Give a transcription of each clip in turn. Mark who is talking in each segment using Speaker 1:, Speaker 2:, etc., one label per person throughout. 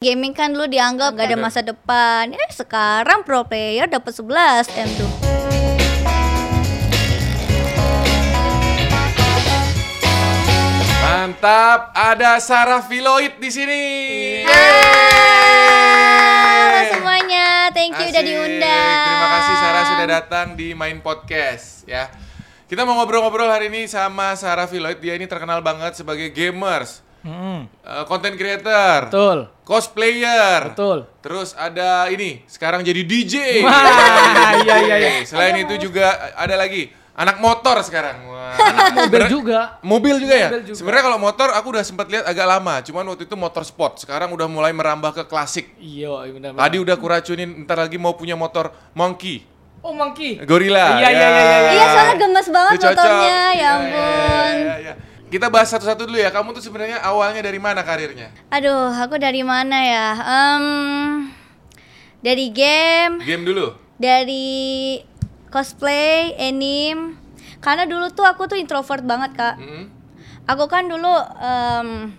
Speaker 1: Gaming kan dulu dianggap gak ada masa depan. Eh sekarang pro player dapat 11 M tuh.
Speaker 2: Mantap, ada Sarah Filoid di sini.
Speaker 1: Iya. Halo
Speaker 2: Yeay.
Speaker 1: semuanya, thank you udah
Speaker 2: Asik.
Speaker 1: diundang.
Speaker 2: Terima kasih Sarah sudah datang di Main Podcast ya. Kita mau ngobrol-ngobrol hari ini sama Sarah Filoid. Dia ini terkenal banget sebagai gamers,
Speaker 3: Mm,
Speaker 2: eh, content creator,
Speaker 3: betul,
Speaker 2: cosplayer.
Speaker 3: betul.
Speaker 2: Terus ada ini, sekarang jadi DJ.
Speaker 3: Wah, iya iya iya.
Speaker 2: Oke, Selain itu juga ada lagi anak motor sekarang. Wah, anak
Speaker 3: Mobil
Speaker 2: ber-
Speaker 3: juga.
Speaker 2: Mobil juga ya.
Speaker 3: Mobil juga.
Speaker 2: Sebenarnya kalau motor aku udah sempat lihat agak lama, cuman waktu itu motor sport. Sekarang udah mulai merambah ke klasik.
Speaker 3: Iya, benar.
Speaker 2: Tadi udah kuracunin, ntar lagi mau punya motor monkey,
Speaker 3: Oh, monkey.
Speaker 2: gorila.
Speaker 3: Iya, iya, iya, iya,
Speaker 1: Iya soalnya gemes banget
Speaker 2: Itu cocok.
Speaker 1: motornya, ya
Speaker 2: Iya,
Speaker 1: ampun.
Speaker 2: iya, iya, iya. Kita bahas satu-satu dulu ya. Kamu tuh sebenarnya awalnya dari mana karirnya?
Speaker 1: Aduh, aku dari mana ya? Em, dari game,
Speaker 2: Game dulu.
Speaker 1: dari cosplay, anime. Karena dulu tuh aku tuh introvert banget kak.
Speaker 2: Mm-mm.
Speaker 1: Aku kan dulu em,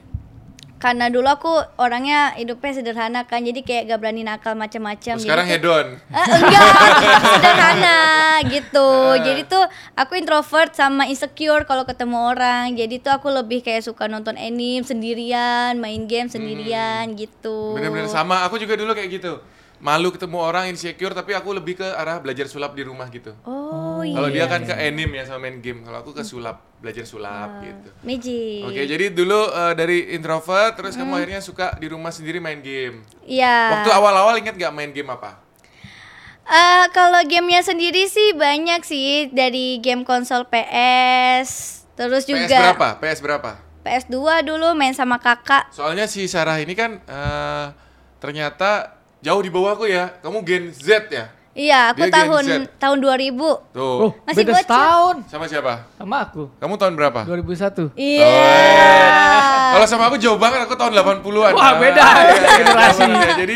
Speaker 1: karena dulu aku orangnya hidupnya sederhana kan, jadi kayak gak berani nakal macam-macam.
Speaker 2: Oh, sekarang hedon.
Speaker 1: Eh, enggak, sederhana
Speaker 2: Eh.
Speaker 1: gitu. Jadi tuh aku introvert sama insecure kalau ketemu orang. Jadi tuh aku lebih kayak suka nonton anime sendirian, main game
Speaker 2: Hmm.
Speaker 1: sendirian gitu.
Speaker 2: Bener-bener sama. Aku juga dulu kayak gitu. Malu ketemu orang insecure, tapi aku lebih ke arah belajar sulap di rumah gitu.
Speaker 1: Oh, iya.
Speaker 2: Kalau dia kan ke anime ya sama main game. Kalau aku ke sulap, belajar sulap
Speaker 1: Nah.
Speaker 2: gitu.
Speaker 1: Magic.
Speaker 2: Oke, jadi dulu eh, dari introvert, terus kamu akhirnya suka di rumah sendiri main game.
Speaker 1: Iya.
Speaker 2: Waktu awal-awal ingat nggak main game apa?
Speaker 1: Eh, kalau gamenya sendiri sih banyak sih dari game konsol PS, terus juga
Speaker 2: PS berapa? PS berapa?
Speaker 1: PS2 dulu main sama kakak.
Speaker 2: Soalnya si Sarah ini kan eh, ternyata jauh di bawahku ya. Kamu Gen Z ya?
Speaker 1: Iya, aku
Speaker 2: Dia Oh, Gen
Speaker 1: tahun
Speaker 2: Z.
Speaker 1: tahun 2000.
Speaker 2: Tuh.
Speaker 1: Masih
Speaker 3: Oh, beda
Speaker 1: bocah.
Speaker 3: setahun
Speaker 2: Sama siapa?
Speaker 3: sama aku.
Speaker 2: Kamu tahun berapa?
Speaker 3: 2001.
Speaker 1: Iya.
Speaker 2: Kalau sama aku jauh banget, aku tahun Iya, 80-an.
Speaker 3: Wah, beda. Generasi.
Speaker 2: sama ya. Jadi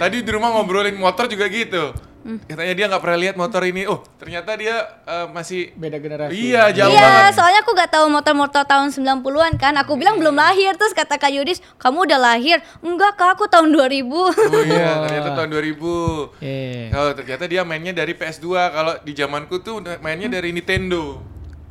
Speaker 2: tadi di rumah ngobrolin motor juga gitu.
Speaker 1: Mm.
Speaker 2: Katanya dia nggak pernah lihat motor ini. Oh, ternyata dia eh, masih
Speaker 3: Beda generasi.
Speaker 2: Iya, jauh
Speaker 1: Iya,
Speaker 2: banget.
Speaker 1: soalnya aku gak tahu motor-motor tahun 90-an kan. Aku bilang belum lahir, terus kata Kak Yudis, "Kamu udah lahir?" "Enggak, Kak, aku tahun 2000."
Speaker 2: Oh iya,
Speaker 3: Wah.
Speaker 2: ternyata tahun 2000.
Speaker 3: Iya.
Speaker 2: Kalau ternyata dia mainnya dari PS2. Kalau di zamanku tuh udah mainnya dari Nintendo.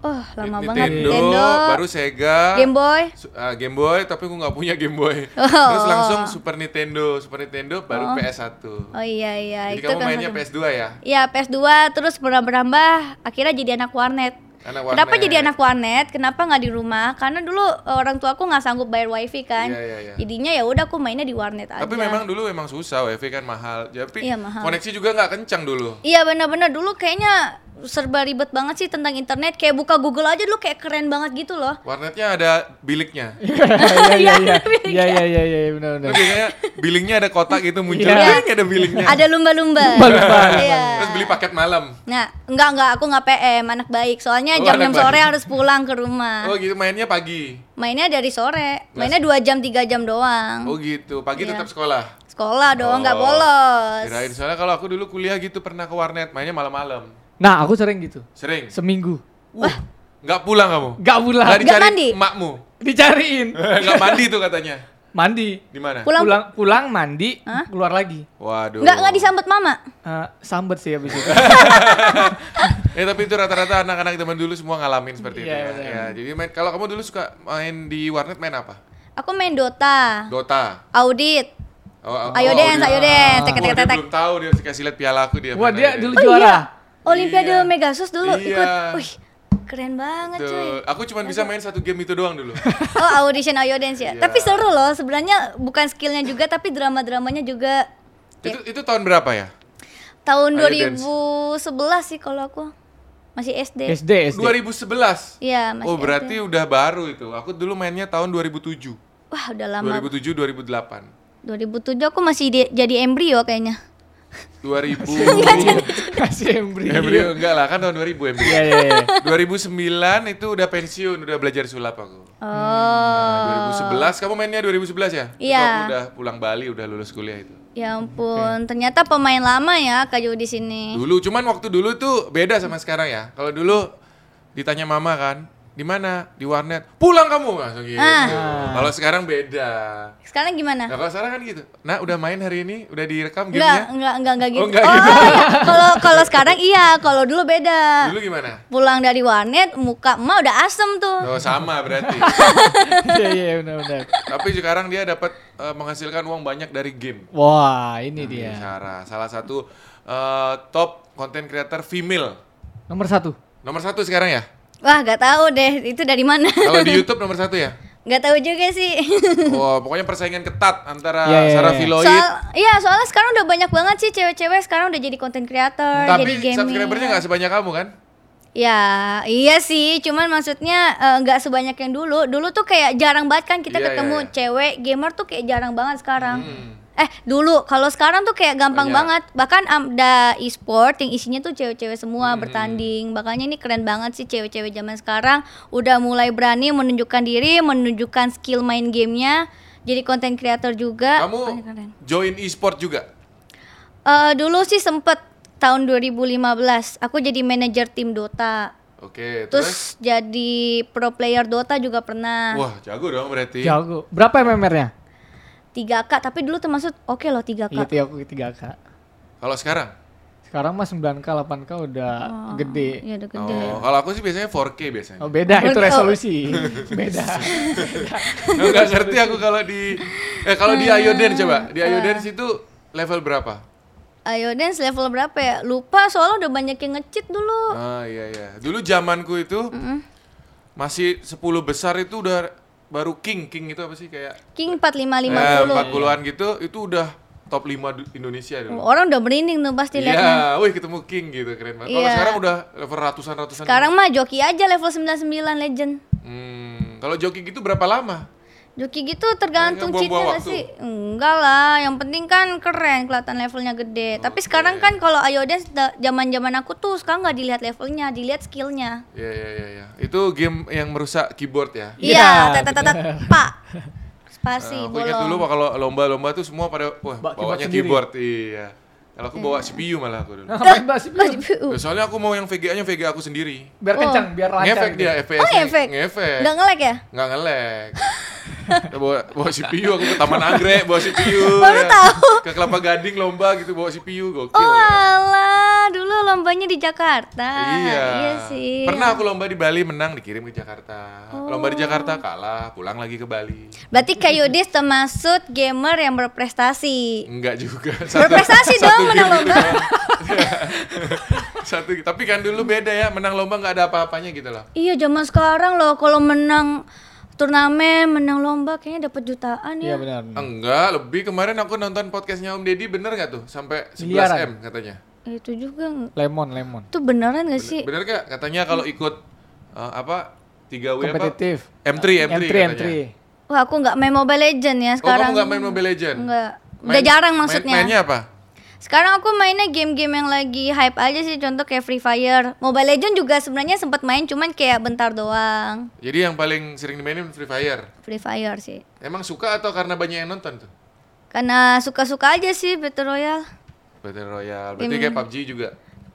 Speaker 1: Oh, lama
Speaker 2: Nintendo,
Speaker 1: banget Nintendo.
Speaker 2: baru Sega.
Speaker 1: Game Boy. Oh.
Speaker 2: Su- ah, Game Boy, tapi aku nggak punya Game Boy. Terus langsung Super Nintendo, Super Nintendo baru PS1.
Speaker 1: Oh iya iya,
Speaker 2: Jadi
Speaker 1: itu
Speaker 2: kamu
Speaker 1: kan
Speaker 2: mainnya
Speaker 1: satu-
Speaker 2: PS2 ya?
Speaker 1: Iya, PS2 terus berambah-berambah akhirnya jadi anak warnet.
Speaker 2: Anak
Speaker 1: Kenapa
Speaker 2: warnet.
Speaker 1: jadi anak warnet? Kenapa nggak di rumah? Karena dulu eh, orang tua aku nggak sanggup bayar wifi kan.
Speaker 2: Iya, iya, iya.
Speaker 1: Jadinya ya udah aku mainnya di warnet aja.
Speaker 2: Tapi memang dulu memang susah, WiFi kan mahal. Tapi
Speaker 1: Iya, mahal.
Speaker 2: koneksi juga nggak kencang dulu.
Speaker 1: Iya benar-benar dulu kayaknya serba ribet banget sih tentang internet. Kayak buka Google aja dulu kayak keren banget gitu loh.
Speaker 2: Warnetnya ada biliknya.
Speaker 3: Iya, iya, iya. Iya, iya, iya, iya, benar benar.
Speaker 2: Terus biasanya billingnya ada kotak gitu muncul,
Speaker 3: Iya.
Speaker 2: "Ding," ada billingnya.
Speaker 1: Ada lumba-lumba.
Speaker 3: Lumba-lumba.
Speaker 1: Iya.
Speaker 2: Terus beli paket malam.
Speaker 1: Nah, enggak enggak aku nggak PM, anak baik. Soalnya
Speaker 2: Oh,
Speaker 1: jam 6
Speaker 2: anak
Speaker 1: sore
Speaker 2: baik.
Speaker 1: harus pulang ke rumah.
Speaker 2: Oh gitu mainnya pagi.
Speaker 1: Mainnya dari sore. Mainnya dua jam tiga jam doang.
Speaker 2: Oh gitu, pagi
Speaker 1: Iya.
Speaker 2: tetap sekolah.
Speaker 1: Sekolah dong, nggak
Speaker 2: Oh,
Speaker 1: bolos.
Speaker 2: Kirain soalnya kalau aku dulu kuliah gitu pernah ke warnet, mainnya malam-malam.
Speaker 3: Nah, aku sering gitu.
Speaker 2: Sering.
Speaker 3: Seminggu.
Speaker 2: Wah, nggak pulang kamu?
Speaker 3: Gak
Speaker 2: Nggak
Speaker 3: pulang.
Speaker 2: dicari
Speaker 1: Nggak mandi?
Speaker 2: emakmu.
Speaker 3: Dicariin.
Speaker 2: Nggak mandi tuh katanya.
Speaker 3: Mandi.
Speaker 2: Di mana?
Speaker 1: Pulang-
Speaker 3: Pulang pulang mandi,
Speaker 1: Hah?
Speaker 3: keluar lagi.
Speaker 2: Waduh.
Speaker 1: Nggak nggak disambut mama.
Speaker 3: Eh, sambet sih habis itu.
Speaker 2: Eh tapi itu rata-rata anak-anak zaman dulu semua ngalamin seperti itu.
Speaker 3: Iya,
Speaker 2: Ya.
Speaker 3: benar.
Speaker 2: Ya, jadi main kalau kamu dulu suka main di warnet main apa?
Speaker 1: Aku main Dota,
Speaker 2: Dota.
Speaker 1: audit,
Speaker 2: Oh, oh,
Speaker 1: ayo
Speaker 2: oh,
Speaker 1: dance,
Speaker 2: dia-
Speaker 1: ayo dance,
Speaker 2: Wah,
Speaker 1: tek tek
Speaker 2: dia
Speaker 1: tek tek.
Speaker 2: belum tahu dia kasih lihat piala aku dia.
Speaker 3: Wah,
Speaker 2: main
Speaker 3: dia
Speaker 2: aja.
Speaker 3: dulu
Speaker 1: Oh
Speaker 3: juara.
Speaker 1: iya, Olimpiade
Speaker 2: Iya.
Speaker 1: Megasus dulu
Speaker 2: Iya.
Speaker 1: ikut. Wih, keren banget cuy.
Speaker 2: Tuh, aku cuma bisa main satu game itu doang dulu.
Speaker 1: Oh audition Ayo Dance ya.
Speaker 2: Iya.
Speaker 1: Tapi seru loh sebenarnya bukan skillnya juga tapi drama-dramanya juga
Speaker 2: itu itu tahun berapa ya?
Speaker 1: tahun
Speaker 2: Ayo Dance.
Speaker 1: 2011 sih kalau aku masih SD.
Speaker 3: SD, SD.
Speaker 2: 2011.
Speaker 1: Iya masih.
Speaker 2: Oh
Speaker 1: SD.
Speaker 2: berarti udah baru itu. Aku dulu mainnya tahun 2007.
Speaker 1: Wah udah lama.
Speaker 2: 2007 2008.
Speaker 1: 2007 aku masih di- jadi embrio kayaknya.
Speaker 2: 2000.
Speaker 3: Kasih embrio.
Speaker 2: Embrio Iya, enggak lah kan tahun 2000 embrio.
Speaker 3: Iya, iya, iya.
Speaker 2: 2009 itu udah pensiun, udah belajar sulap aku. Nah,
Speaker 1: Oh.
Speaker 2: 2011 kamu mainnya 2011 ya? Itu
Speaker 1: Iya.
Speaker 2: aku udah pulang Bali, udah lulus kuliah itu.
Speaker 1: Ya ampun, ternyata pemain lama ya Kak Yudi sini.
Speaker 2: Dulu cuman waktu dulu tuh beda sama sekarang ya. Kalau dulu ditanya mama kan, di mana? Di warnet. Pulang kamu langsung gitu.
Speaker 1: Ah.
Speaker 2: Kalau sekarang beda.
Speaker 1: Sekarang gimana?
Speaker 2: Nah, kalau sekarang kan gitu. Nah, udah main hari ini, udah direkam
Speaker 1: Enggak,
Speaker 2: gamenya.
Speaker 1: enggak, enggak, enggak
Speaker 2: Oh,
Speaker 1: gitu.
Speaker 2: enggak
Speaker 1: oh
Speaker 2: gitu.
Speaker 1: iya, kalau kalau sekarang iya, kalau dulu beda.
Speaker 2: Dulu gimana?
Speaker 1: Pulang dari warnet, muka emak udah asem tuh.
Speaker 2: Oh, sama berarti.
Speaker 3: Iya iya benar-benar.
Speaker 2: Tapi sekarang dia dapat eh, menghasilkan uang banyak dari game.
Speaker 3: Wah ini dia.
Speaker 2: Sarah, salah satu eh, top content creator female.
Speaker 3: Nomor satu.
Speaker 2: Nomor satu sekarang ya?
Speaker 1: Wah, gak tahu deh itu dari mana.
Speaker 2: Kalau di YouTube nomor satu ya?
Speaker 1: Gak tahu juga sih.
Speaker 2: Wah, pokoknya persaingan ketat antara
Speaker 3: Ya, ya,
Speaker 2: Sarah
Speaker 3: ya.
Speaker 2: Filoid.
Speaker 1: Soal, iya, soalnya sekarang udah banyak banget sih cewek-cewek sekarang udah jadi content creator, jadi
Speaker 2: tapi
Speaker 1: gaming.
Speaker 2: subscribernya nggak sebanyak kamu kan?
Speaker 1: Ya, iya sih. Cuman maksudnya eh, nggak sebanyak yang dulu. Dulu tuh kayak jarang banget kan kita
Speaker 2: Iya, iya,
Speaker 1: ketemu
Speaker 2: iya.
Speaker 1: cewek gamer tuh kayak jarang banget sekarang.
Speaker 2: Hmm.
Speaker 1: Eh, dulu kalau sekarang tuh kayak gampang
Speaker 2: Banyak.
Speaker 1: banget. Bahkan ada e-sport yang isinya tuh cewek-cewek
Speaker 2: Hmm.
Speaker 1: semua bertanding. Makanya ini keren banget sih cewek-cewek zaman sekarang udah mulai berani menunjukkan diri, menunjukkan skill main gamenya. Jadi konten creator juga.
Speaker 2: Kamu
Speaker 1: Wah, ini keren.
Speaker 2: join e-sport juga?
Speaker 1: Eh, dulu sih sempet tahun 2015 aku jadi manajer tim Dota.
Speaker 2: Oke, terus?
Speaker 1: Terus nah. jadi pro player Dota juga pernah.
Speaker 2: Wah, jago dong berarti.
Speaker 3: Jago. Berapa MMR-nya?
Speaker 1: 3K, tapi dulu termasuk oke loh 3K.
Speaker 3: Iya tiga aku tiga k.
Speaker 2: Kalau sekarang?
Speaker 3: Sekarang mah 9 k 8 k udah gede.
Speaker 1: Iya, udah gede.
Speaker 2: Oh, kalau aku sih biasanya 4K biasanya.
Speaker 3: Oh beda itu
Speaker 1: Betul.
Speaker 3: resolusi. beda.
Speaker 1: Eh,
Speaker 2: Enggak ngerti aku kalau di eh kalau di Ayoden coba. Di
Speaker 1: eh.
Speaker 2: Ayoden itu level berapa?
Speaker 1: Ayo dance level berapa ya? Lupa soalnya udah banyak yang ngecit dulu.
Speaker 2: Ah iya iya. Dulu zamanku itu masih 10 besar itu udah baru king. King itu apa sih kayak
Speaker 1: King
Speaker 2: eh,
Speaker 1: 4550.
Speaker 2: 40-an gitu itu udah top 5 du- Indonesia dulu.
Speaker 1: Orang udah merinding tuh pasti liatnya.
Speaker 2: Iya, wih ketemu King gitu keren banget. Kalau
Speaker 1: Iya.
Speaker 2: sekarang udah level ratusan-ratusan.
Speaker 1: Sekarang mah joki aja level 99 legend.
Speaker 2: Hmm, kalau joki gitu berapa lama?
Speaker 1: Joki gitu tergantung
Speaker 2: Nggak
Speaker 1: cheatnya
Speaker 2: buang-buang
Speaker 1: nggak sih?
Speaker 2: waktu.
Speaker 1: Enggak lah, yang penting kan keren, kelihatan levelnya gede.
Speaker 2: Oh,
Speaker 1: Tapi sekarang kan kalau Ayo Dance da- zaman-zaman aku tuh sekarang nggak dilihat levelnya, dilihat skillnya.
Speaker 2: Iya, iya, iya, iya. Itu game yang merusak keyboard ya.
Speaker 3: Iya,
Speaker 1: Iya, tat tat tat, tat, pak. Spasi,
Speaker 2: Nah, aku ingat dulu
Speaker 1: bolong.
Speaker 2: Pak, kalau lomba-lomba tuh semua pada wah
Speaker 3: Bawa keyboard
Speaker 2: bawanya
Speaker 3: sendiri.
Speaker 2: keyboard. Iya. Kalau aku bawa CPU malah aku dulu. Ya,
Speaker 3: Nah, main basi
Speaker 1: Oh,
Speaker 3: biar,
Speaker 1: CPU.
Speaker 2: Soalnya aku mau yang VGA-nya VGA aku sendiri.
Speaker 3: biar kencang, biar lancar.
Speaker 2: Ngefek
Speaker 3: gitu.
Speaker 2: dia FPS.
Speaker 1: Oh, ngefek?
Speaker 2: Ngefek.
Speaker 1: Nggak ngelag ya?
Speaker 2: Nggak ngelag. Udah bawa, bawa CPU aku ke Taman Anggrek bawa CPU.
Speaker 1: Baru tahu.
Speaker 2: ya. Ke Kelapa Gading lomba gitu bawa CPU gokil.
Speaker 1: Oh alah, dulu lombanya di Jakarta.
Speaker 2: Iya.
Speaker 1: sih. Oh.
Speaker 2: Pernah aku lomba di Bali menang dikirim ke Jakarta. Lomba di Jakarta kalah, pulang lagi ke Bali.
Speaker 1: Berarti Kayudis termasuk gamer yang berprestasi.
Speaker 2: Enggak juga.
Speaker 1: Berprestasi dong
Speaker 2: game
Speaker 1: menang
Speaker 2: itu
Speaker 1: lomba.
Speaker 2: doang. satu. Tapi kan dulu beda ya, menang lomba nggak ada apa-apanya gitu loh.
Speaker 1: Iya, zaman sekarang loh kalau menang turnamen, menang lomba kayaknya dapat jutaan
Speaker 3: Iya
Speaker 1: ya.
Speaker 3: benar.
Speaker 2: Enggak, Ah, lebih kemarin aku nonton podcastnya Om Deddy bener nggak tuh sampai 11 m
Speaker 3: Miliaran.
Speaker 2: katanya.
Speaker 1: Itu juga nggak-
Speaker 3: Lemon, lemon.
Speaker 1: itu beneran gak sih?
Speaker 2: Iya. Bener nggak? Katanya kalau ikut eh, apa tiga W apa?
Speaker 3: Kompetitif.
Speaker 2: M3, M3,
Speaker 3: M3,
Speaker 2: iya, katanya.
Speaker 3: M3
Speaker 1: Wah, aku nggak main Mobile Legend ya
Speaker 2: Oh, kamu
Speaker 1: sekarang.
Speaker 2: nggak main Mobile Legend?
Speaker 1: Nggak. Udah
Speaker 2: Main-
Speaker 1: jarang
Speaker 2: main-
Speaker 1: maksudnya.
Speaker 2: mainnya apa?
Speaker 1: Sekarang aku mainnya game-game yang lagi hype aja sih, contoh kayak Free Fire. Mobile Legend juga sebenarnya sempat main cuman kayak bentar doang.
Speaker 2: Jadi yang paling sering dimainin Free Fire.
Speaker 1: Free Fire sih.
Speaker 2: Emang suka atau karena banyak yang nonton tuh?
Speaker 1: Karena suka-suka aja sih Battle Royale.
Speaker 2: Battle Royale, berarti kayak PUBG juga.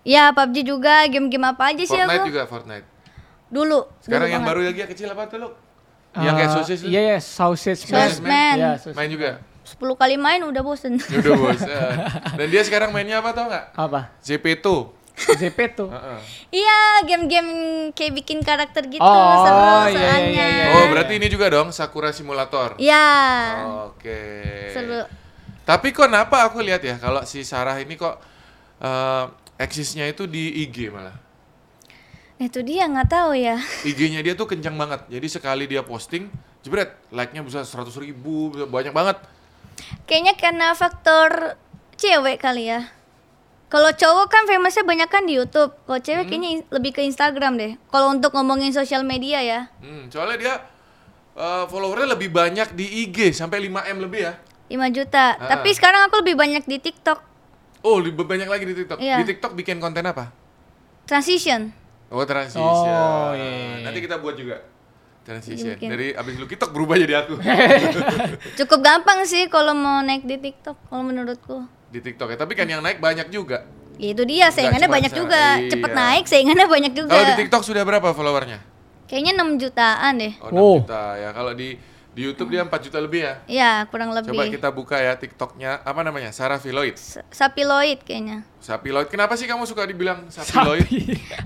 Speaker 1: Ya, PUBG juga, game-game apa aja sih
Speaker 2: Fortnite
Speaker 1: aku.
Speaker 2: juga Fortnite.
Speaker 1: Dulu.
Speaker 2: Sekarang
Speaker 1: dulu
Speaker 2: yang
Speaker 1: banget.
Speaker 2: baru lagi yang kecil apa tuh, Luk? yang kayak
Speaker 3: Eh,
Speaker 2: sausage
Speaker 3: Iya, iya, sausage.
Speaker 1: Sausage man.
Speaker 3: Iya, sausage.
Speaker 2: main juga.
Speaker 1: 10 kali main udah bosen.
Speaker 2: Ya udah bosan. Dan dia sekarang mainnya apa tau nggak?
Speaker 3: Apa?
Speaker 2: JP2.
Speaker 3: JP tuh.
Speaker 2: Heeh.
Speaker 1: iya, game-game kayak bikin karakter gitu,
Speaker 3: Oh,
Speaker 1: seru
Speaker 3: iya, iya,
Speaker 1: soalnya. Iya,
Speaker 3: iya,
Speaker 2: Oh, berarti ini juga dong Sakura Simulator. Oke.
Speaker 1: seru.
Speaker 2: Tapi kok kenapa aku lihat ya kalau si Sarah ini kok eh, eksisnya itu di IG malah.
Speaker 1: Nah, Itu dia nggak tahu ya.
Speaker 2: IG-nya dia tuh kencang banget. Jadi sekali dia posting, jebret, like-nya bisa 100 ribu, bisa banyak banget.
Speaker 1: Kayaknya karena faktor cewek kali ya. Kalau cowok kan famousnya banyak kan di YouTube. Kalau cewek kayaknya in- lebih ke Instagram deh. Kalau untuk ngomongin sosial media ya.
Speaker 2: Hmm, soalnya dia eh, followernya lebih banyak di IG sampai 5M lebih ya.
Speaker 1: 5 juta.
Speaker 2: Ah.
Speaker 1: Tapi sekarang aku lebih banyak di TikTok
Speaker 2: Oh, lebih banyak lagi di TikTok.
Speaker 1: Iya.
Speaker 2: Di TikTok bikin konten apa?
Speaker 1: transition.
Speaker 2: Oh, transition.
Speaker 3: Oh, iya, iya, iya.
Speaker 2: Nanti kita buat juga transition. Dari abis lu TikTok berubah jadi aku
Speaker 1: Cukup gampang sih kalau mau naik di TikTok kalau menurutku.
Speaker 2: di TikTok ya. Tapi kan yang naik banyak juga.
Speaker 1: Ya itu dia, saingannya
Speaker 2: cuma
Speaker 1: banyak
Speaker 2: bisa-
Speaker 1: juga.
Speaker 2: iya.
Speaker 1: Cepet naik, saingannya banyak juga.
Speaker 2: Kalau di TikTok sudah berapa followernya?
Speaker 1: Kayaknya 6 jutaan deh.
Speaker 2: Oh, 6
Speaker 3: Wow.
Speaker 2: juta ya. Kalau di di YouTube dia 4 juta lebih ya.
Speaker 1: Ya, kurang lebih.
Speaker 2: Coba kita buka ya TikToknya apa namanya? Sarah Filoid.
Speaker 1: S- Sapiloid kayaknya.
Speaker 2: Sapiloid. Kenapa sih kamu suka dibilang Sapiloid?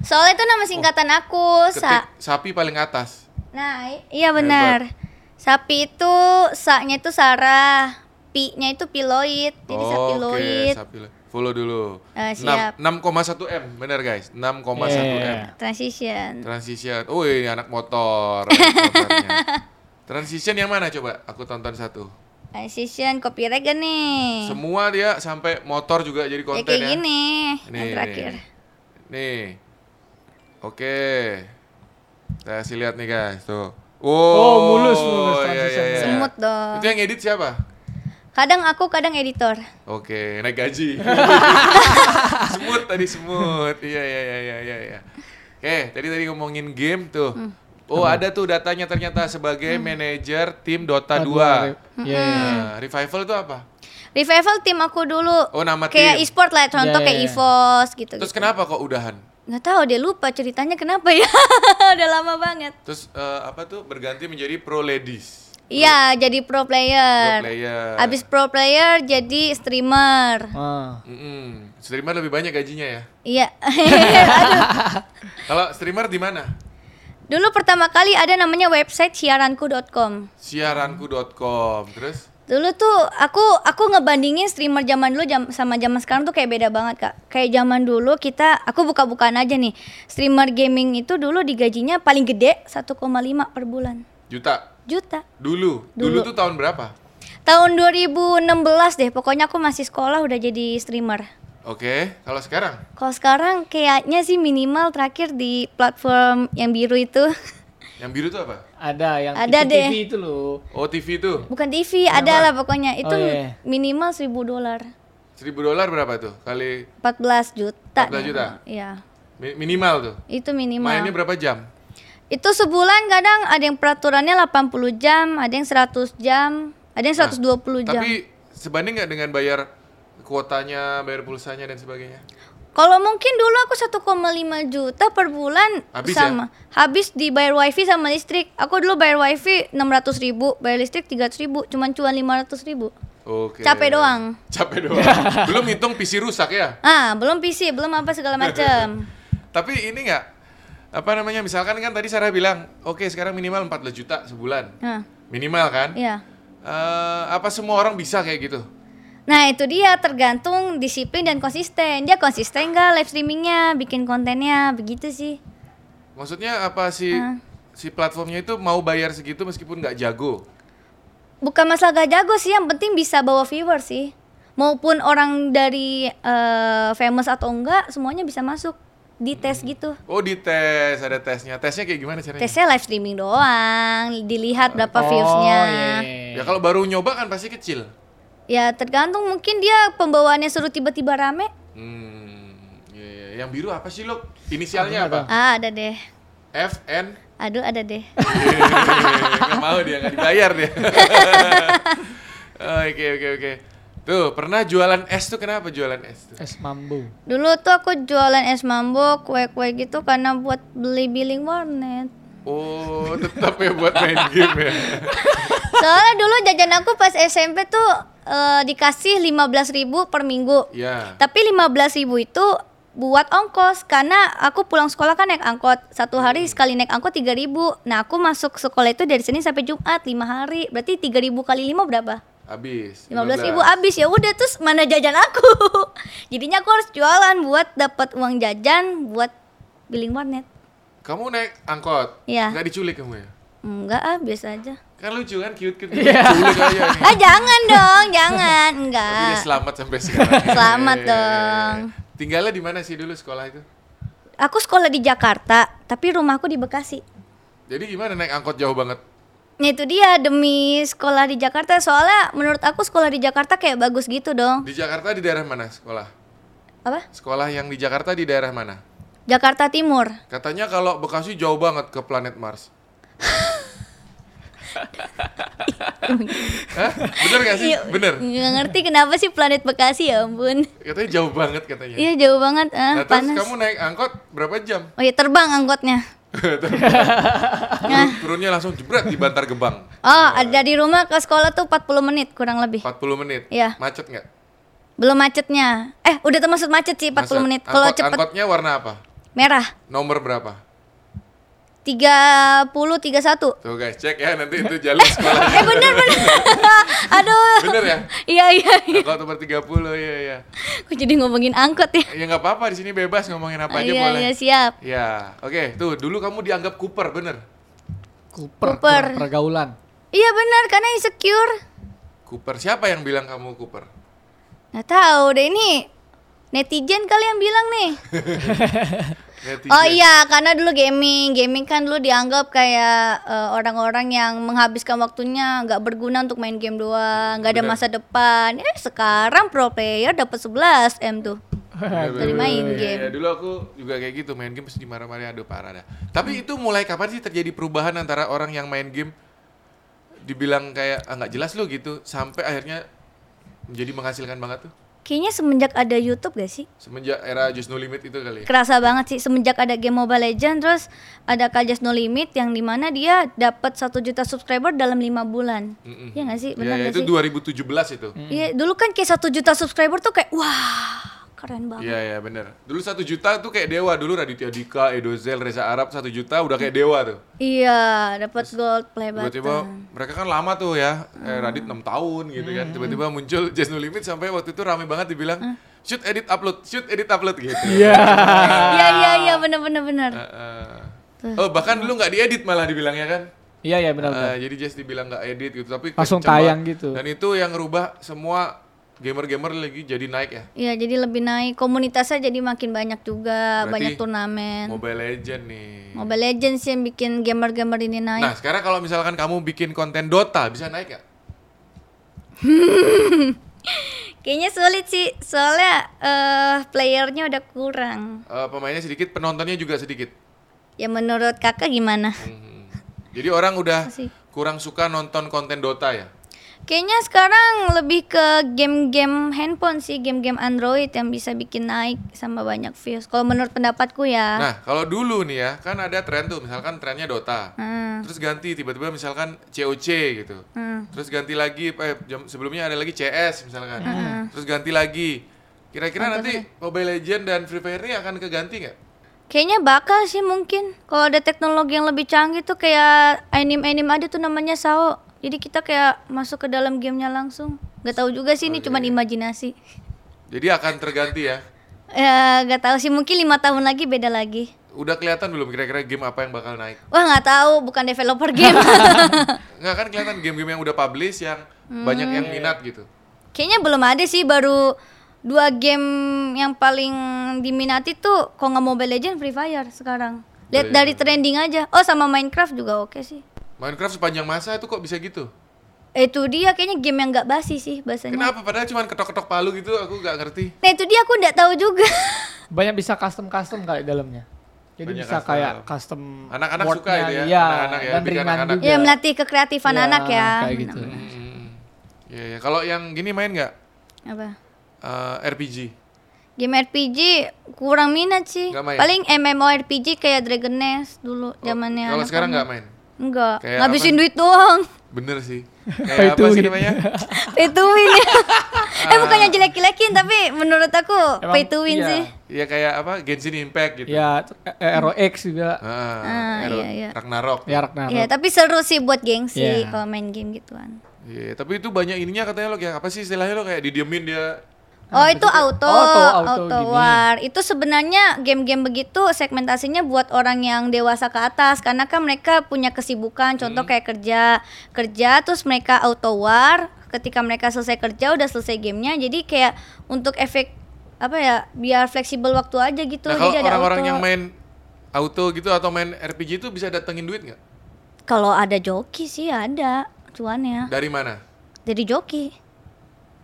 Speaker 1: Soalnya itu nama singkatan aku, Sa.
Speaker 2: Oh, Ketik sapi paling atas.
Speaker 1: Nah, i- iya benar. Sapi itu sa-nya itu Sarah, pi-nya itu piloid. Jadi sapiloid.
Speaker 2: Oke, Sapiloid. Follow dulu.
Speaker 1: Eh, siap.
Speaker 2: Enam- 6,1 M, benar guys. 6,1 M.
Speaker 3: Yeah.
Speaker 1: Transition.
Speaker 2: Transition. Oh, ini anak motor. anak motornya. Transition yang mana coba? Aku tonton satu.
Speaker 1: Transition copyright gak nih?
Speaker 2: Semua dia sampai motor juga jadi
Speaker 1: ya
Speaker 2: konten
Speaker 1: kayak
Speaker 2: ya.
Speaker 1: gini, yang
Speaker 2: Nih,
Speaker 1: terakhir.
Speaker 2: Nih. Nih. Oke. Saya kasih lihat nih guys, tuh. Wow.
Speaker 3: Oh, mulus, mulus
Speaker 2: iya, iya,
Speaker 3: transition.
Speaker 2: iya.
Speaker 1: Semut dong.
Speaker 2: Itu yang edit siapa?
Speaker 1: Kadang aku, kadang editor.
Speaker 2: Oke, naik gaji. semut tadi semut. Iya, iya, iya, iya, iya, iya. Oke, tadi tadi ngomongin game tuh.
Speaker 1: Hmm.
Speaker 2: Oh, ada tuh datanya ternyata sebagai manajer tim Dota 2.
Speaker 1: Hmm.
Speaker 3: Iya.
Speaker 2: Nah, revival itu apa?
Speaker 1: Revival tim aku dulu.
Speaker 2: Oh, nama
Speaker 1: kayak
Speaker 2: tim.
Speaker 1: e-sport lah, contoh
Speaker 3: Ya,
Speaker 1: kayak
Speaker 3: ya, ya.
Speaker 1: EVOS gitu.
Speaker 2: Terus kenapa kok udahan?
Speaker 1: Nggak tahu dia lupa ceritanya kenapa ya. Udah lama banget.
Speaker 2: Terus eh, apa tuh berganti menjadi pro ladies.
Speaker 1: Iya, jadi pro player.
Speaker 2: Pro player.
Speaker 1: Eh, Abis pro player jadi streamer.
Speaker 3: Ah.
Speaker 2: Mm-mm. Streamer lebih banyak gajinya ya.
Speaker 1: Iya.
Speaker 2: Kalau streamer di mana?
Speaker 1: Dulu pertama kali ada namanya website siaranku.com.
Speaker 2: Siaranku.com. Terus
Speaker 1: Dulu tuh aku aku ngebandingin streamer zaman dulu jam, sama zaman sekarang tuh kayak beda banget kak. Kayak zaman dulu kita aku buka-bukaan aja nih streamer gaming itu dulu digajinya paling gede 1,5 per bulan
Speaker 2: juta.
Speaker 1: juta.
Speaker 2: Dulu. Dulu,
Speaker 1: Dulu.
Speaker 2: tuh tahun berapa?
Speaker 1: Tahun 2016 deh, pokoknya aku masih sekolah udah jadi streamer.
Speaker 2: Oke, kalau sekarang
Speaker 1: Kalau sekarang kayaknya sih minimal terakhir di platform yang biru itu
Speaker 2: yang biru tuh apa?
Speaker 3: Ada yang
Speaker 1: Ada
Speaker 3: TV,
Speaker 1: deh.
Speaker 3: itu loh.
Speaker 2: Oh, TV tuh.
Speaker 1: bukan TV, ada lah pokoknya itu
Speaker 3: Oh, iya.
Speaker 1: minimal 1000 dolar,
Speaker 2: 1000 dolar berapa tuh? Kali
Speaker 1: 14 juta.
Speaker 2: 14
Speaker 1: deh.
Speaker 2: juta?
Speaker 1: Iya.
Speaker 2: mi- minimal tuh.
Speaker 1: Itu minimal.
Speaker 2: Mainnya berapa jam?
Speaker 1: Itu sebulan kadang ada yang peraturannya 80 jam, ada yang 100 jam, ada yang 120 jam.
Speaker 2: Nah, Tapi sebanding nggak dengan bayar kuotanya, bayar pulsanya dan sebagainya?
Speaker 1: Kalau mungkin dulu aku 1,5 juta per bulan
Speaker 2: Habis ya?
Speaker 1: sama habis dibayar wifi sama listrik. Aku dulu bayar wifi 600 ribu, bayar listrik 300 ribu, cuman cuan 500 ribu.
Speaker 2: Oke.
Speaker 1: Capek doang.
Speaker 2: Capek doang. Belum hitung PC rusak ya?
Speaker 1: Ah, belum PC, belum apa segala macam.
Speaker 2: Tapi ini nggak apa namanya misalkan kan tadi Sarah bilang, oke sekarang minimal 14 juta sebulan.
Speaker 1: Nah,
Speaker 2: Minimal kan?
Speaker 1: iya.
Speaker 2: Eh, apa semua orang bisa kayak gitu?
Speaker 1: Nah, itu dia tergantung disiplin dan konsisten. Dia konsisten nggak live streamingnya, bikin kontennya, begitu sih.
Speaker 2: Maksudnya apa sih si platformnya itu mau bayar segitu meskipun nggak jago?
Speaker 1: Bukan masalah gak jago sih, yang penting bisa bawa viewer sih. Maupun orang dari eh, famous atau enggak, semuanya bisa masuk di tes gitu.
Speaker 2: Oh dites ada tesnya. Tesnya kayak gimana caranya?
Speaker 1: Tesnya live streaming doang, dilihat berapa
Speaker 3: Oh, iya.
Speaker 1: viewsnya.
Speaker 2: Ya kalau baru nyoba kan pasti kecil.
Speaker 1: Ya tergantung mungkin dia pembawaannya suruh tiba-tiba rame.
Speaker 2: Hmm, iya, iya. yang biru apa sih lo? Inisialnya apa?
Speaker 1: Ah ada deh,
Speaker 2: F N.
Speaker 1: aduh ada deh.
Speaker 2: Nggak mau dia nggak dibayar dia. Oke oke oke. Tuh pernah jualan es tuh kenapa jualan es tuh?
Speaker 3: Es mambu.
Speaker 1: Dulu tuh aku jualan es mambo, kue-kue gitu karena buat beli billing warnet.
Speaker 2: Oh tetap ya buat main game ya.
Speaker 1: Soalnya dulu jajan aku pas SMP tuh eh, dikasih 15.000 per minggu.
Speaker 2: Ya.
Speaker 1: Tapi 15.000 itu buat ongkos karena aku pulang sekolah kan naik angkot. Satu hari sekali naik angkot 3.000. Nah, aku masuk sekolah itu dari Senin sampai Jumat 5 hari. Berarti 3.000 kali 5 berapa?
Speaker 2: Habis.
Speaker 1: 15.000 habis ya udah terus mana jajan aku. Jadinya aku harus jualan buat dapat uang jajan buat billing warnet.
Speaker 2: Kamu naik angkot?
Speaker 1: Iya.
Speaker 2: Nggak diculik kamu ya?
Speaker 1: Enggak ah, biasa aja.
Speaker 2: Kan lucu kan cute cute. Culik aja nih.
Speaker 1: Ah, jangan dong, jangan.
Speaker 2: Nah. Tapi dia
Speaker 1: Enggak.
Speaker 2: selamat sampai sekarang.
Speaker 1: Selamat dong.
Speaker 2: Tinggalnya di mana sih dulu sekolah itu?
Speaker 1: Aku sekolah di Jakarta, tapi rumahku di Bekasi.
Speaker 2: Jadi gimana naik angkot jauh banget?
Speaker 1: Nah itu dia demi sekolah di Jakarta soalnya menurut aku sekolah di Jakarta kayak bagus gitu dong.
Speaker 2: Di Jakarta di daerah mana sekolah?
Speaker 1: Apa?
Speaker 2: Sekolah yang di Jakarta di daerah mana?
Speaker 1: Jakarta Timur.
Speaker 2: Katanya kalau Bekasi jauh banget ke planet Mars. Hah? Bener gak sih?
Speaker 1: Iya,
Speaker 2: Bener.
Speaker 1: Nggak ngerti kenapa sih planet Bekasi ya ampun.
Speaker 2: Katanya jauh banget katanya.
Speaker 1: Iya jauh banget ah
Speaker 2: Nah, terus
Speaker 1: panas.
Speaker 2: kamu naik angkot berapa jam?
Speaker 1: Oh iya terbang angkotnya.
Speaker 2: Turun- Turunnya langsung jebret di Bantar Gebang.
Speaker 1: Oh, dari rumah ke sekolah tuh 40 menit kurang lebih.
Speaker 2: 40 menit.
Speaker 1: Iya.
Speaker 2: Macet nggak?
Speaker 1: Belum macetnya. Eh, udah termasuk macet sih 40
Speaker 2: Macet.
Speaker 1: menit. Kalau
Speaker 2: Angkot-
Speaker 1: cepet
Speaker 2: Angkotnya warna apa?
Speaker 1: merah.
Speaker 2: Nomor berapa?
Speaker 1: 30 31.
Speaker 2: Tuh guys, cek ya nanti itu jalur sekolah.
Speaker 1: Eh bener bener. Aduh.
Speaker 2: Bener ya?
Speaker 1: Iya iya. iya.
Speaker 2: Angkot nomor 30, iya iya.
Speaker 1: Kok jadi ngomongin angkot ya?
Speaker 2: Ya nggak apa-apa di sini bebas ngomongin apa aja
Speaker 1: Iya
Speaker 2: boleh.
Speaker 1: iya siap.
Speaker 2: Ya, oke. Tuh dulu kamu dianggap Cooper, bener?
Speaker 3: Cooper,
Speaker 1: Cooper.
Speaker 3: per- pergaulan.
Speaker 1: Iya bener karena insecure.
Speaker 2: Cooper siapa yang bilang kamu Cooper?
Speaker 1: Nggak tahu deh ini netizen kali yang bilang nih.
Speaker 2: Netizen.
Speaker 1: Oh iya, karena dulu gaming, gaming kan dulu dianggap kayak eh, orang-orang yang menghabiskan waktunya nggak berguna untuk main game doang, nggak ada
Speaker 2: Bener.
Speaker 1: masa depan. Eh sekarang pro player dapat 11 m tuh.
Speaker 2: Bener, bener,
Speaker 1: Dari
Speaker 2: bener.
Speaker 1: main
Speaker 2: Iya,
Speaker 1: game.
Speaker 2: iya. dulu aku juga kayak gitu main game pasti dimarah-marahin aduh parah dah. Tapi itu mulai kapan sih terjadi perubahan antara orang yang main game dibilang kayak "Ah, nggak jelas lu gitu sampai akhirnya menjadi menghasilkan banget tuh
Speaker 1: Kayaknya semenjak ada YouTube gak sih?
Speaker 2: semenjak era Just No Limit itu kali ya.
Speaker 1: Kerasa banget sih semenjak ada game Mobile Legends terus ada Kajas No Limit yang dimana dia dapat 1 juta subscriber dalam lima bulan.
Speaker 2: Mm-mm.
Speaker 1: Iya nggak sih?
Speaker 2: Iya,
Speaker 1: Benar
Speaker 2: iya,
Speaker 1: nggak
Speaker 2: itu
Speaker 1: sih?
Speaker 2: 2017 itu.
Speaker 1: Iya, dulu kan kayak 1 juta subscriber tuh kayak wah, keren banget.
Speaker 2: Iya iya bener. Dulu satu juta tuh kayak dewa dulu Raditya Dika, Edozel, Reza Arab satu juta udah kayak dewa tuh.
Speaker 1: Iya, dapat gold play button.
Speaker 2: Tiba-tiba mereka kan lama tuh ya,
Speaker 1: Hmm.
Speaker 2: eh, Radit 6 tahun gitu kan. Tiba-tiba muncul Just No Limit sampai waktu itu rame
Speaker 1: Hmm.
Speaker 2: banget dibilang shoot edit upload, shoot edit upload gitu.
Speaker 3: Iya.
Speaker 1: Iya iya iya bener bener bener.
Speaker 2: Eh, eh. Oh bahkan dulu nggak diedit malah dibilangnya kan.
Speaker 3: Iya iya benar benar.
Speaker 2: Eh, jadi Jess dibilang nggak edit gitu tapi
Speaker 3: Langsung
Speaker 2: kenceng
Speaker 3: tayang
Speaker 2: banget.
Speaker 3: gitu.
Speaker 2: Dan itu yang ngerubah semua gamer-gamer lagi jadi naik ya.
Speaker 1: Iya jadi lebih naik komunitasnya jadi makin banyak juga
Speaker 2: Berarti
Speaker 1: banyak turnamen.
Speaker 2: Mobile Legend nih.
Speaker 1: Mobile Legends sih yang bikin gamer-gamer ini
Speaker 2: Nah,
Speaker 1: naik.
Speaker 2: sekarang kalau misalkan kamu bikin konten Dota, bisa naik nggak?
Speaker 1: Kayaknya sulit sih soalnya eh playernya udah kurang.
Speaker 2: Eh, pemainnya sedikit, penontonnya juga sedikit.
Speaker 1: Ya menurut kakak gimana?
Speaker 2: Mhm. Jadi orang udah
Speaker 1: Masih.
Speaker 2: kurang suka nonton konten Dota ya?
Speaker 1: Kayaknya sekarang lebih ke game-game handphone sih, game-game Android yang bisa bikin naik sama banyak views. Kalau menurut pendapatku ya.
Speaker 2: Nah, kalau dulu nih ya, kan ada tren tuh, misalkan trennya Dota.
Speaker 1: Hmm,
Speaker 2: Terus ganti tiba-tiba misalkan COC gitu.
Speaker 1: hmm.
Speaker 2: Terus ganti lagi eh jam- sebelumnya ada lagi CS misalkan. Terus ganti lagi. Kira-kira nanti Mobile Legend dan Free Fire ini akan keganti nggak?
Speaker 1: Kayaknya bakal sih mungkin kalau ada teknologi yang lebih canggih tuh kayak anime-anime ada tuh namanya Sao. Jadi kita kayak masuk ke dalam gamenya langsung. Gak tahu juga sih ini cuman imajinasi.
Speaker 2: Jadi akan terganti ya.
Speaker 1: Ya gak tahu sih mungkin lima tahun lagi beda lagi.
Speaker 2: Udah kelihatan belum kira-kira game apa yang bakal naik?
Speaker 1: Wah nggak tahu bukan developer game.
Speaker 2: Nggak kan kelihatan game-game yang udah publish yang
Speaker 1: Hmm.
Speaker 2: banyak
Speaker 1: Iya,
Speaker 2: yang minat gitu.
Speaker 1: Kayaknya belum ada sih baru dua game yang paling diminati tuh kalau nggak Mobile Legends Free Fire sekarang.
Speaker 2: Oh,
Speaker 1: Lihat
Speaker 2: iya.
Speaker 1: dari trending aja. Oh sama Minecraft juga oke sih. Eh,
Speaker 2: Minecraft sepanjang masa itu kok bisa gitu?
Speaker 1: Itu dia kayaknya game yang nggak basi sih bahasanya.
Speaker 2: Kenapa? Padahal cuma ketok-ketok palu gitu, aku nggak ngerti.
Speaker 1: Nah itu dia aku nggak tahu juga.
Speaker 3: Banyak bisa custom custom kayak dalamnya. Jadi
Speaker 2: Banyak
Speaker 3: bisa
Speaker 2: custom.
Speaker 3: kayak custom
Speaker 2: Anak-anak suka
Speaker 3: wordnya,
Speaker 2: itu ya,
Speaker 3: Iya,
Speaker 2: anak-anak ya,
Speaker 3: dan
Speaker 2: bikin
Speaker 3: ringan
Speaker 2: anak-anak.
Speaker 3: juga.
Speaker 1: ya melatih kekreatifan
Speaker 3: Iya,
Speaker 1: anak ya.
Speaker 3: Kayak gitu.
Speaker 2: Hmm. Iya, iya. kalau yang gini main nggak
Speaker 1: Apa?
Speaker 2: Eh, RPG?
Speaker 1: Game RPG kurang minat sih.
Speaker 2: Nggak main. Oh,
Speaker 1: Paling MMORPG kayak Dragon Nest dulu zamannya.
Speaker 2: Kalau
Speaker 1: anak
Speaker 2: sekarang
Speaker 1: anak.
Speaker 2: nggak main?
Speaker 1: Enggak.
Speaker 2: Kayak
Speaker 1: Ngabisin
Speaker 2: apa?
Speaker 1: duit doang.
Speaker 2: Bener sih.
Speaker 3: Pay
Speaker 2: Kayak
Speaker 3: to
Speaker 2: apa sih
Speaker 3: win.
Speaker 2: namanya?
Speaker 1: pay to win ya. eh bukannya jelek-jelekin tapi menurut aku
Speaker 3: Emang
Speaker 1: pay to win
Speaker 3: iya.
Speaker 1: sih.
Speaker 2: Iya kayak apa? Genshin Impact gitu.
Speaker 3: Ya, eh, ROX juga.
Speaker 2: Ah,
Speaker 1: Iya. Ah,
Speaker 2: Ero-
Speaker 1: iya, iya.
Speaker 2: Ragnarok.
Speaker 3: Ya Ragnarok.
Speaker 1: Iya, tapi seru sih buat gengsi
Speaker 3: Iya.
Speaker 1: kalau main game gituan.
Speaker 2: Iya, tapi itu banyak ininya katanya lo kayak apa sih istilahnya lo kayak didiemin dia.
Speaker 1: Oh itu auto,
Speaker 3: Nah, Auto, auto gini.
Speaker 1: war. Itu sebenarnya game-game begitu segmentasinya buat orang yang dewasa ke atas karena kan mereka punya kesibukan. Contoh
Speaker 3: Hmm.
Speaker 1: kayak kerja, kerja terus mereka auto war. Ketika mereka selesai kerja udah selesai gamenya. Jadi kayak untuk efek apa ya biar fleksibel waktu aja gitu.
Speaker 2: nah kalau
Speaker 1: Jadi ada
Speaker 2: orang-orang
Speaker 1: auto.
Speaker 2: yang main auto gitu atau main RPG itu bisa datengin duit nggak?
Speaker 1: Kalau ada joki sih ada cuannya.
Speaker 2: Dari mana?
Speaker 1: Jadi joki.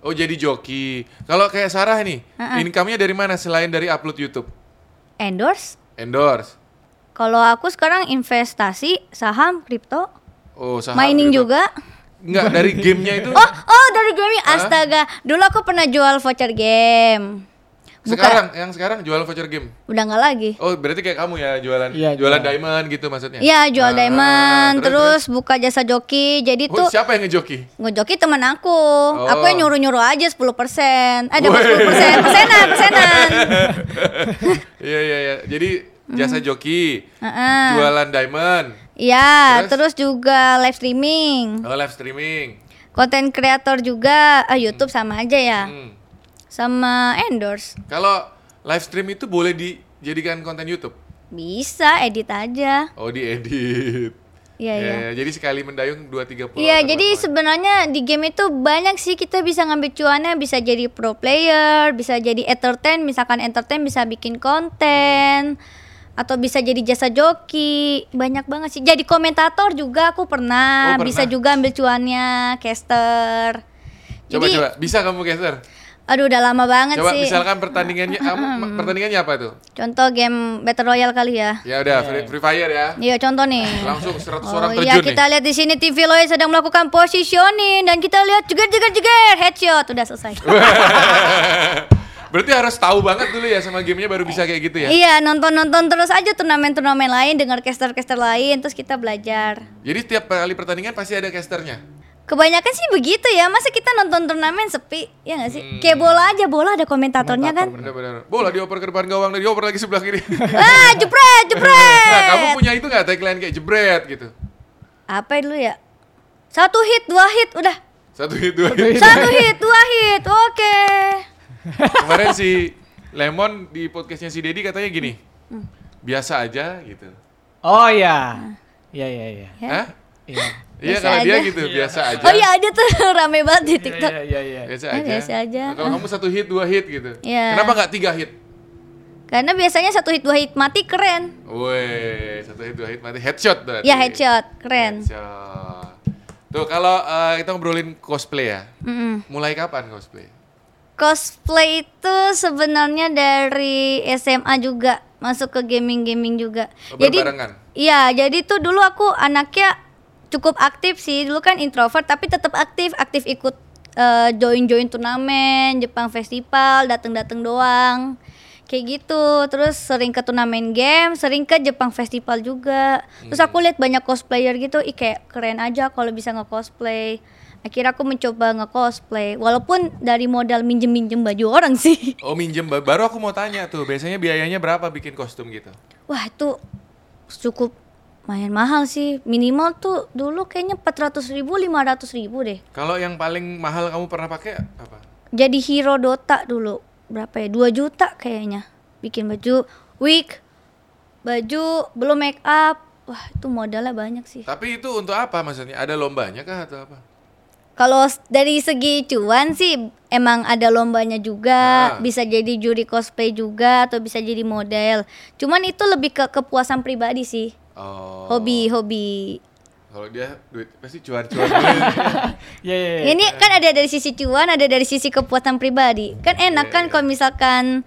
Speaker 2: Oh jadi joki. Kalau kayak Sarah nih, income-nya dari mana selain dari upload YouTube?
Speaker 1: Endorse.
Speaker 2: Endorse.
Speaker 1: Kalau aku sekarang investasi saham kripto,
Speaker 2: Oh, saham.
Speaker 1: mining
Speaker 2: gitu.
Speaker 1: juga.
Speaker 2: Enggak, dari gamenya itu.
Speaker 1: Oh, oh dari gaming. Astaga, dulu aku pernah jual voucher game.
Speaker 2: Sekarang yang sekarang jual voucher game.
Speaker 1: Udah nggak lagi.
Speaker 2: Oh, berarti kayak kamu ya jualan
Speaker 3: Iya,
Speaker 2: jualan
Speaker 3: jualan.
Speaker 2: diamond gitu maksudnya.
Speaker 1: Iya, jual
Speaker 2: Ah,
Speaker 1: diamond, terus,
Speaker 2: terus,
Speaker 1: buka jasa joki. Jadi
Speaker 2: Oh,
Speaker 1: tuh
Speaker 2: siapa yang ngejoki?
Speaker 1: ngejoki teman aku. Aku yang nyuruh-nyuruh aja 10%. Eh, dapat
Speaker 2: Weh.
Speaker 1: 10%. Persenan, persenan.
Speaker 2: Iya iya iya. Jadi
Speaker 1: Mm-hmm.
Speaker 2: jasa joki,
Speaker 1: Heeh.
Speaker 2: jualan diamond,
Speaker 1: Iya,
Speaker 2: Terus?
Speaker 1: terus juga live streaming.
Speaker 2: oh, live streaming.
Speaker 1: Konten kreator juga, ah, YouTube sama aja ya.
Speaker 2: Hmm.
Speaker 1: Sama endorse.
Speaker 2: Kalau live stream itu boleh dijadikan konten YouTube.
Speaker 1: Bisa edit aja.
Speaker 2: Oh, diedit.
Speaker 1: Iya, iya.
Speaker 2: Ya, jadi sekali mendayung 2 3 pulau.
Speaker 1: Iya,
Speaker 2: atau
Speaker 1: jadi
Speaker 2: berapa.
Speaker 1: sebenarnya di game itu banyak sih kita bisa ngambil cuannya, bisa jadi pro player, bisa jadi entertain, misalkan entertain bisa bikin konten
Speaker 2: Hmm.
Speaker 1: atau bisa jadi jasa joki, banyak banget sih. Jadi komentator juga aku pernah,
Speaker 2: Oh, pernah.
Speaker 1: bisa juga ambil cuannya, caster.
Speaker 2: coba
Speaker 1: jadi
Speaker 2: coba bisa kamu geser.
Speaker 1: aduh udah lama banget
Speaker 2: Coba
Speaker 1: sih.
Speaker 2: misalkan pertandingannya apa- pertandingannya apa tuh?
Speaker 1: Contoh game Battle Royale kali ya.
Speaker 2: Ya udah free, Free fire ya.
Speaker 1: Iya, contoh nih.
Speaker 2: Langsung 100
Speaker 1: Oh
Speaker 2: orang
Speaker 1: iya
Speaker 2: terjun
Speaker 1: kita lihat di sini TV Loy sedang melakukan positioning dan kita lihat jeger jeger jeger headshot udah selesai.
Speaker 2: Oh, Berarti harus tahu banget dulu ya sama gamenya baru bisa kayak gitu ya.
Speaker 1: Iya nonton-nonton terus aja turnamen-turnamen lain dengar caster-caster lain terus kita belajar.
Speaker 2: Jadi tiap kali pertandingan pasti ada casternya.
Speaker 1: Kebanyakan sih begitu ya masa kita nonton turnamen sepi ya nggak sih? Kayak
Speaker 2: Hmm.
Speaker 1: bola aja bola ada komentatornya kan?
Speaker 2: Benar-benar. Bola dioper ke depan gawang, dioper lagi sebelah kiri.
Speaker 1: Ah jepret
Speaker 2: nah, kamu
Speaker 1: jepret.
Speaker 2: punya itu nggak tagline kayak jebret gitu?
Speaker 1: Apa dulu ya? Satu hit dua hit udah.
Speaker 2: Satu hit, dua hit.
Speaker 1: Satu hit dua hit oke.
Speaker 2: Kemarin si Lemon di podcastnya si Dedi katanya gini.
Speaker 1: Hmm.
Speaker 2: Biasa aja gitu.
Speaker 3: Oh iya. Iya iya iya.
Speaker 1: Ya.
Speaker 2: Hah?
Speaker 3: Iya
Speaker 2: Iya
Speaker 1: Biasa
Speaker 2: kalau dia
Speaker 1: aja.
Speaker 2: gitu, biasa aja.
Speaker 1: Oh iya ada tuh rame banget di
Speaker 3: iya
Speaker 1: TikTok.
Speaker 3: iya. iya.
Speaker 2: Biasa
Speaker 1: Ya,
Speaker 2: aja.
Speaker 1: biasa aja.
Speaker 2: Kalau kamu satu hit, dua hit gitu.
Speaker 1: Iya.
Speaker 2: Kenapa nggak tiga hit?
Speaker 1: Karena biasanya satu hit dua hit mati keren.
Speaker 2: Woi, satu hit, dua hit, mati headshot berarti.
Speaker 1: Ya headshot keren.
Speaker 2: Headshot. Tuh kalau eh, kita ngobrolin cosplay ya.
Speaker 1: Mm-mm.
Speaker 2: Mulai kapan cosplay?
Speaker 1: Cosplay itu sebenarnya dari SMA juga masuk ke gaming-gaming juga.
Speaker 2: Oh, berbarengan?
Speaker 1: Iya, jadi tuh dulu aku anaknya cukup aktif sih. Dulu kan introvert tapi tetap aktif, aktif ikut eh, join-join turnamen, Jepang Festival, datang-datang doang. Kayak gitu. Terus sering ke turnamen game, sering ke Jepang Festival juga. Terus aku lihat banyak cosplayer gitu, ih kayak keren aja kalau bisa nge-cosplay. Akhirnya aku mencoba nge-cosplay walaupun dari modal minjem-minjem baju orang sih.
Speaker 2: Oh minjem, ba- baru aku mau tanya tuh, biasanya biayanya berapa bikin kostum gitu?
Speaker 1: Wah, itu cukup lumayan mahal sih. Minimal tuh dulu kayaknya 400.000 ribu, 500 ribu deh.
Speaker 2: Kalau yang paling mahal kamu pernah pakai apa?
Speaker 1: Jadi hero Dota dulu berapa ya? 2 juta kayaknya. Bikin baju, wig, baju, belum make up. Wah, itu modalnya banyak sih.
Speaker 2: Tapi itu untuk apa maksudnya? Ada lombanya kah atau apa?
Speaker 1: Kalau s- dari segi cuan sih emang ada lombanya juga,
Speaker 2: Ah.
Speaker 1: bisa jadi juri cosplay juga atau bisa jadi model. Cuman itu lebih ke kepuasan pribadi sih.
Speaker 2: Oh.
Speaker 1: Hobi-hobi.
Speaker 2: Kalau dia duit pasti cuan-cuan dulu.
Speaker 3: Iya iya. iya.
Speaker 1: Ini kan ada dari sisi cuan, ada dari sisi kepuasan pribadi. Kan enak kan kalau misalkan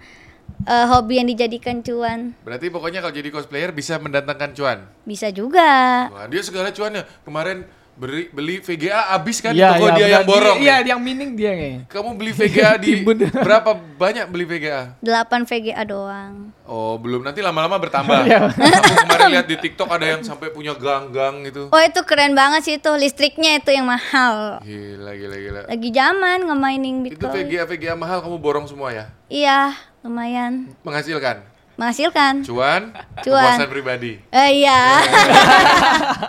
Speaker 1: eh, hobi yang dijadikan cuan.
Speaker 2: Berarti pokoknya kalau jadi cosplayer bisa mendatangkan cuan.
Speaker 1: Bisa juga.
Speaker 2: Wah, dia segala cuannya. Kemarin beri, beli VGA habis kan di
Speaker 3: Iya,
Speaker 2: toko
Speaker 3: iya,
Speaker 2: dia yang
Speaker 3: benar.
Speaker 2: borong.
Speaker 3: Iya,
Speaker 2: ya?
Speaker 3: yang mining dia kayaknya.
Speaker 2: Kamu beli VGA di
Speaker 3: Ibu dia.
Speaker 2: berapa banyak beli VGA?
Speaker 1: 8 VGA doang.
Speaker 2: Oh, belum. Nanti lama-lama bertambah.
Speaker 3: Iya.
Speaker 2: Aku kemarin lihat di TikTok ada yang sampai punya gang-gang gitu.
Speaker 1: Oh itu keren banget sih itu listriknya itu yang mahal.
Speaker 2: Gila, gila, gila.
Speaker 1: Lagi zaman ngemainin
Speaker 2: Itu
Speaker 1: Bitcoin.
Speaker 2: VGA VGA mahal kamu borong semua ya?
Speaker 1: Iya, lumayan
Speaker 2: Menghasilkan.
Speaker 1: menghasilkan.
Speaker 2: Cuan,
Speaker 1: Cuan.
Speaker 2: kepuasan pribadi.
Speaker 1: Eh iya.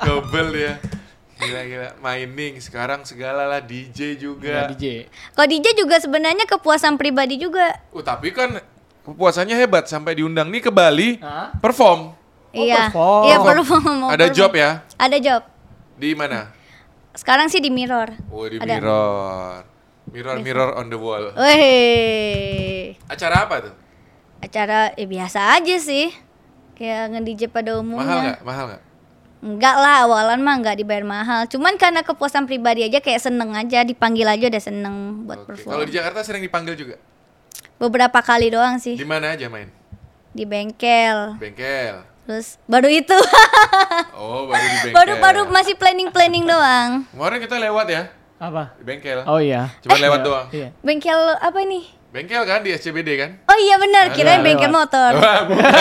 Speaker 2: Double ya. Gila, gila. Mining sekarang segala lah DJ
Speaker 3: Nah,
Speaker 2: juga.
Speaker 3: DJ.
Speaker 1: Kalau DJ juga sebenarnya kepuasan pribadi juga.
Speaker 2: Oh, tapi kan kepuasannya hebat sampai diundang nih ke Bali
Speaker 3: Hah?
Speaker 2: perform.
Speaker 3: Oh,
Speaker 1: iya.
Speaker 3: perform.
Speaker 1: Iya perform.
Speaker 2: Ada job ya?
Speaker 1: Ada job.
Speaker 2: Di mana?
Speaker 1: Sekarang sih di mirror.
Speaker 2: Oh, di
Speaker 1: Ada.
Speaker 2: Mirror. Mirror, mirror on the wall.
Speaker 1: Weh.
Speaker 2: Acara apa tuh?
Speaker 1: acara ya biasa aja sih kayak nge-DJ pada
Speaker 2: Mahal
Speaker 1: umumnya
Speaker 2: nggak? Mahal nggak?
Speaker 1: enggak lah awalan mah enggak dibayar mahal cuman karena kepuasan pribadi aja kayak seneng aja dipanggil aja udah seneng buat
Speaker 2: Oke.
Speaker 1: perform
Speaker 2: Kalau di Jakarta sering dipanggil juga.
Speaker 1: beberapa kali doang sih
Speaker 2: Di mana aja main?
Speaker 1: di bengkel
Speaker 2: Bengkel.
Speaker 1: terus baru itu
Speaker 2: Oh, baru di bengkel.
Speaker 1: baru baru masih planning planning doang
Speaker 2: Kemarin kita lewat ya
Speaker 3: Apa?
Speaker 2: di bengkel.
Speaker 3: Oh iya.
Speaker 2: Cuma lewat doang.
Speaker 3: Iya.
Speaker 1: bengkel apa nih
Speaker 2: Bengkel kan di SCBD kan?
Speaker 1: Oh iya benar, kirain
Speaker 3: Ada,
Speaker 1: bengkel
Speaker 3: lewat.
Speaker 1: motor.
Speaker 2: Wah, bukan.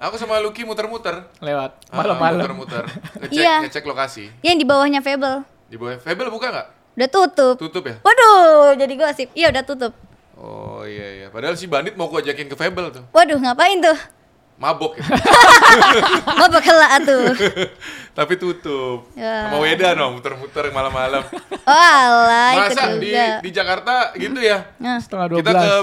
Speaker 2: Aku sama Lucky muter-muter.
Speaker 3: lewat
Speaker 2: Ah,
Speaker 3: malam-malam.
Speaker 2: Muter-muter. Ngecek,
Speaker 1: Iya.
Speaker 2: ngecek lokasi.
Speaker 1: Yang di bawahnya Fable.
Speaker 2: Di bawah Fable buka nggak?
Speaker 1: Udah tutup.
Speaker 2: Tutup ya?
Speaker 1: Waduh, jadi gosip. Iya udah tutup.
Speaker 2: Oh iya iya. Padahal si Bandit mau gua ajakin ke Fable tuh.
Speaker 1: Waduh, ngapain tuh?
Speaker 2: Mabok ya.
Speaker 1: Mau bakela tuh.
Speaker 2: Tapi tutup.
Speaker 1: Ya.
Speaker 2: Sama Weda dong muter-muter malam-malam.
Speaker 1: Walah, itu
Speaker 2: Masa di
Speaker 1: Ah, juga.
Speaker 2: di Jakarta gitu ya?
Speaker 1: Nah,
Speaker 3: Setengah dua
Speaker 2: Kita
Speaker 3: belas. Eh.
Speaker 2: ke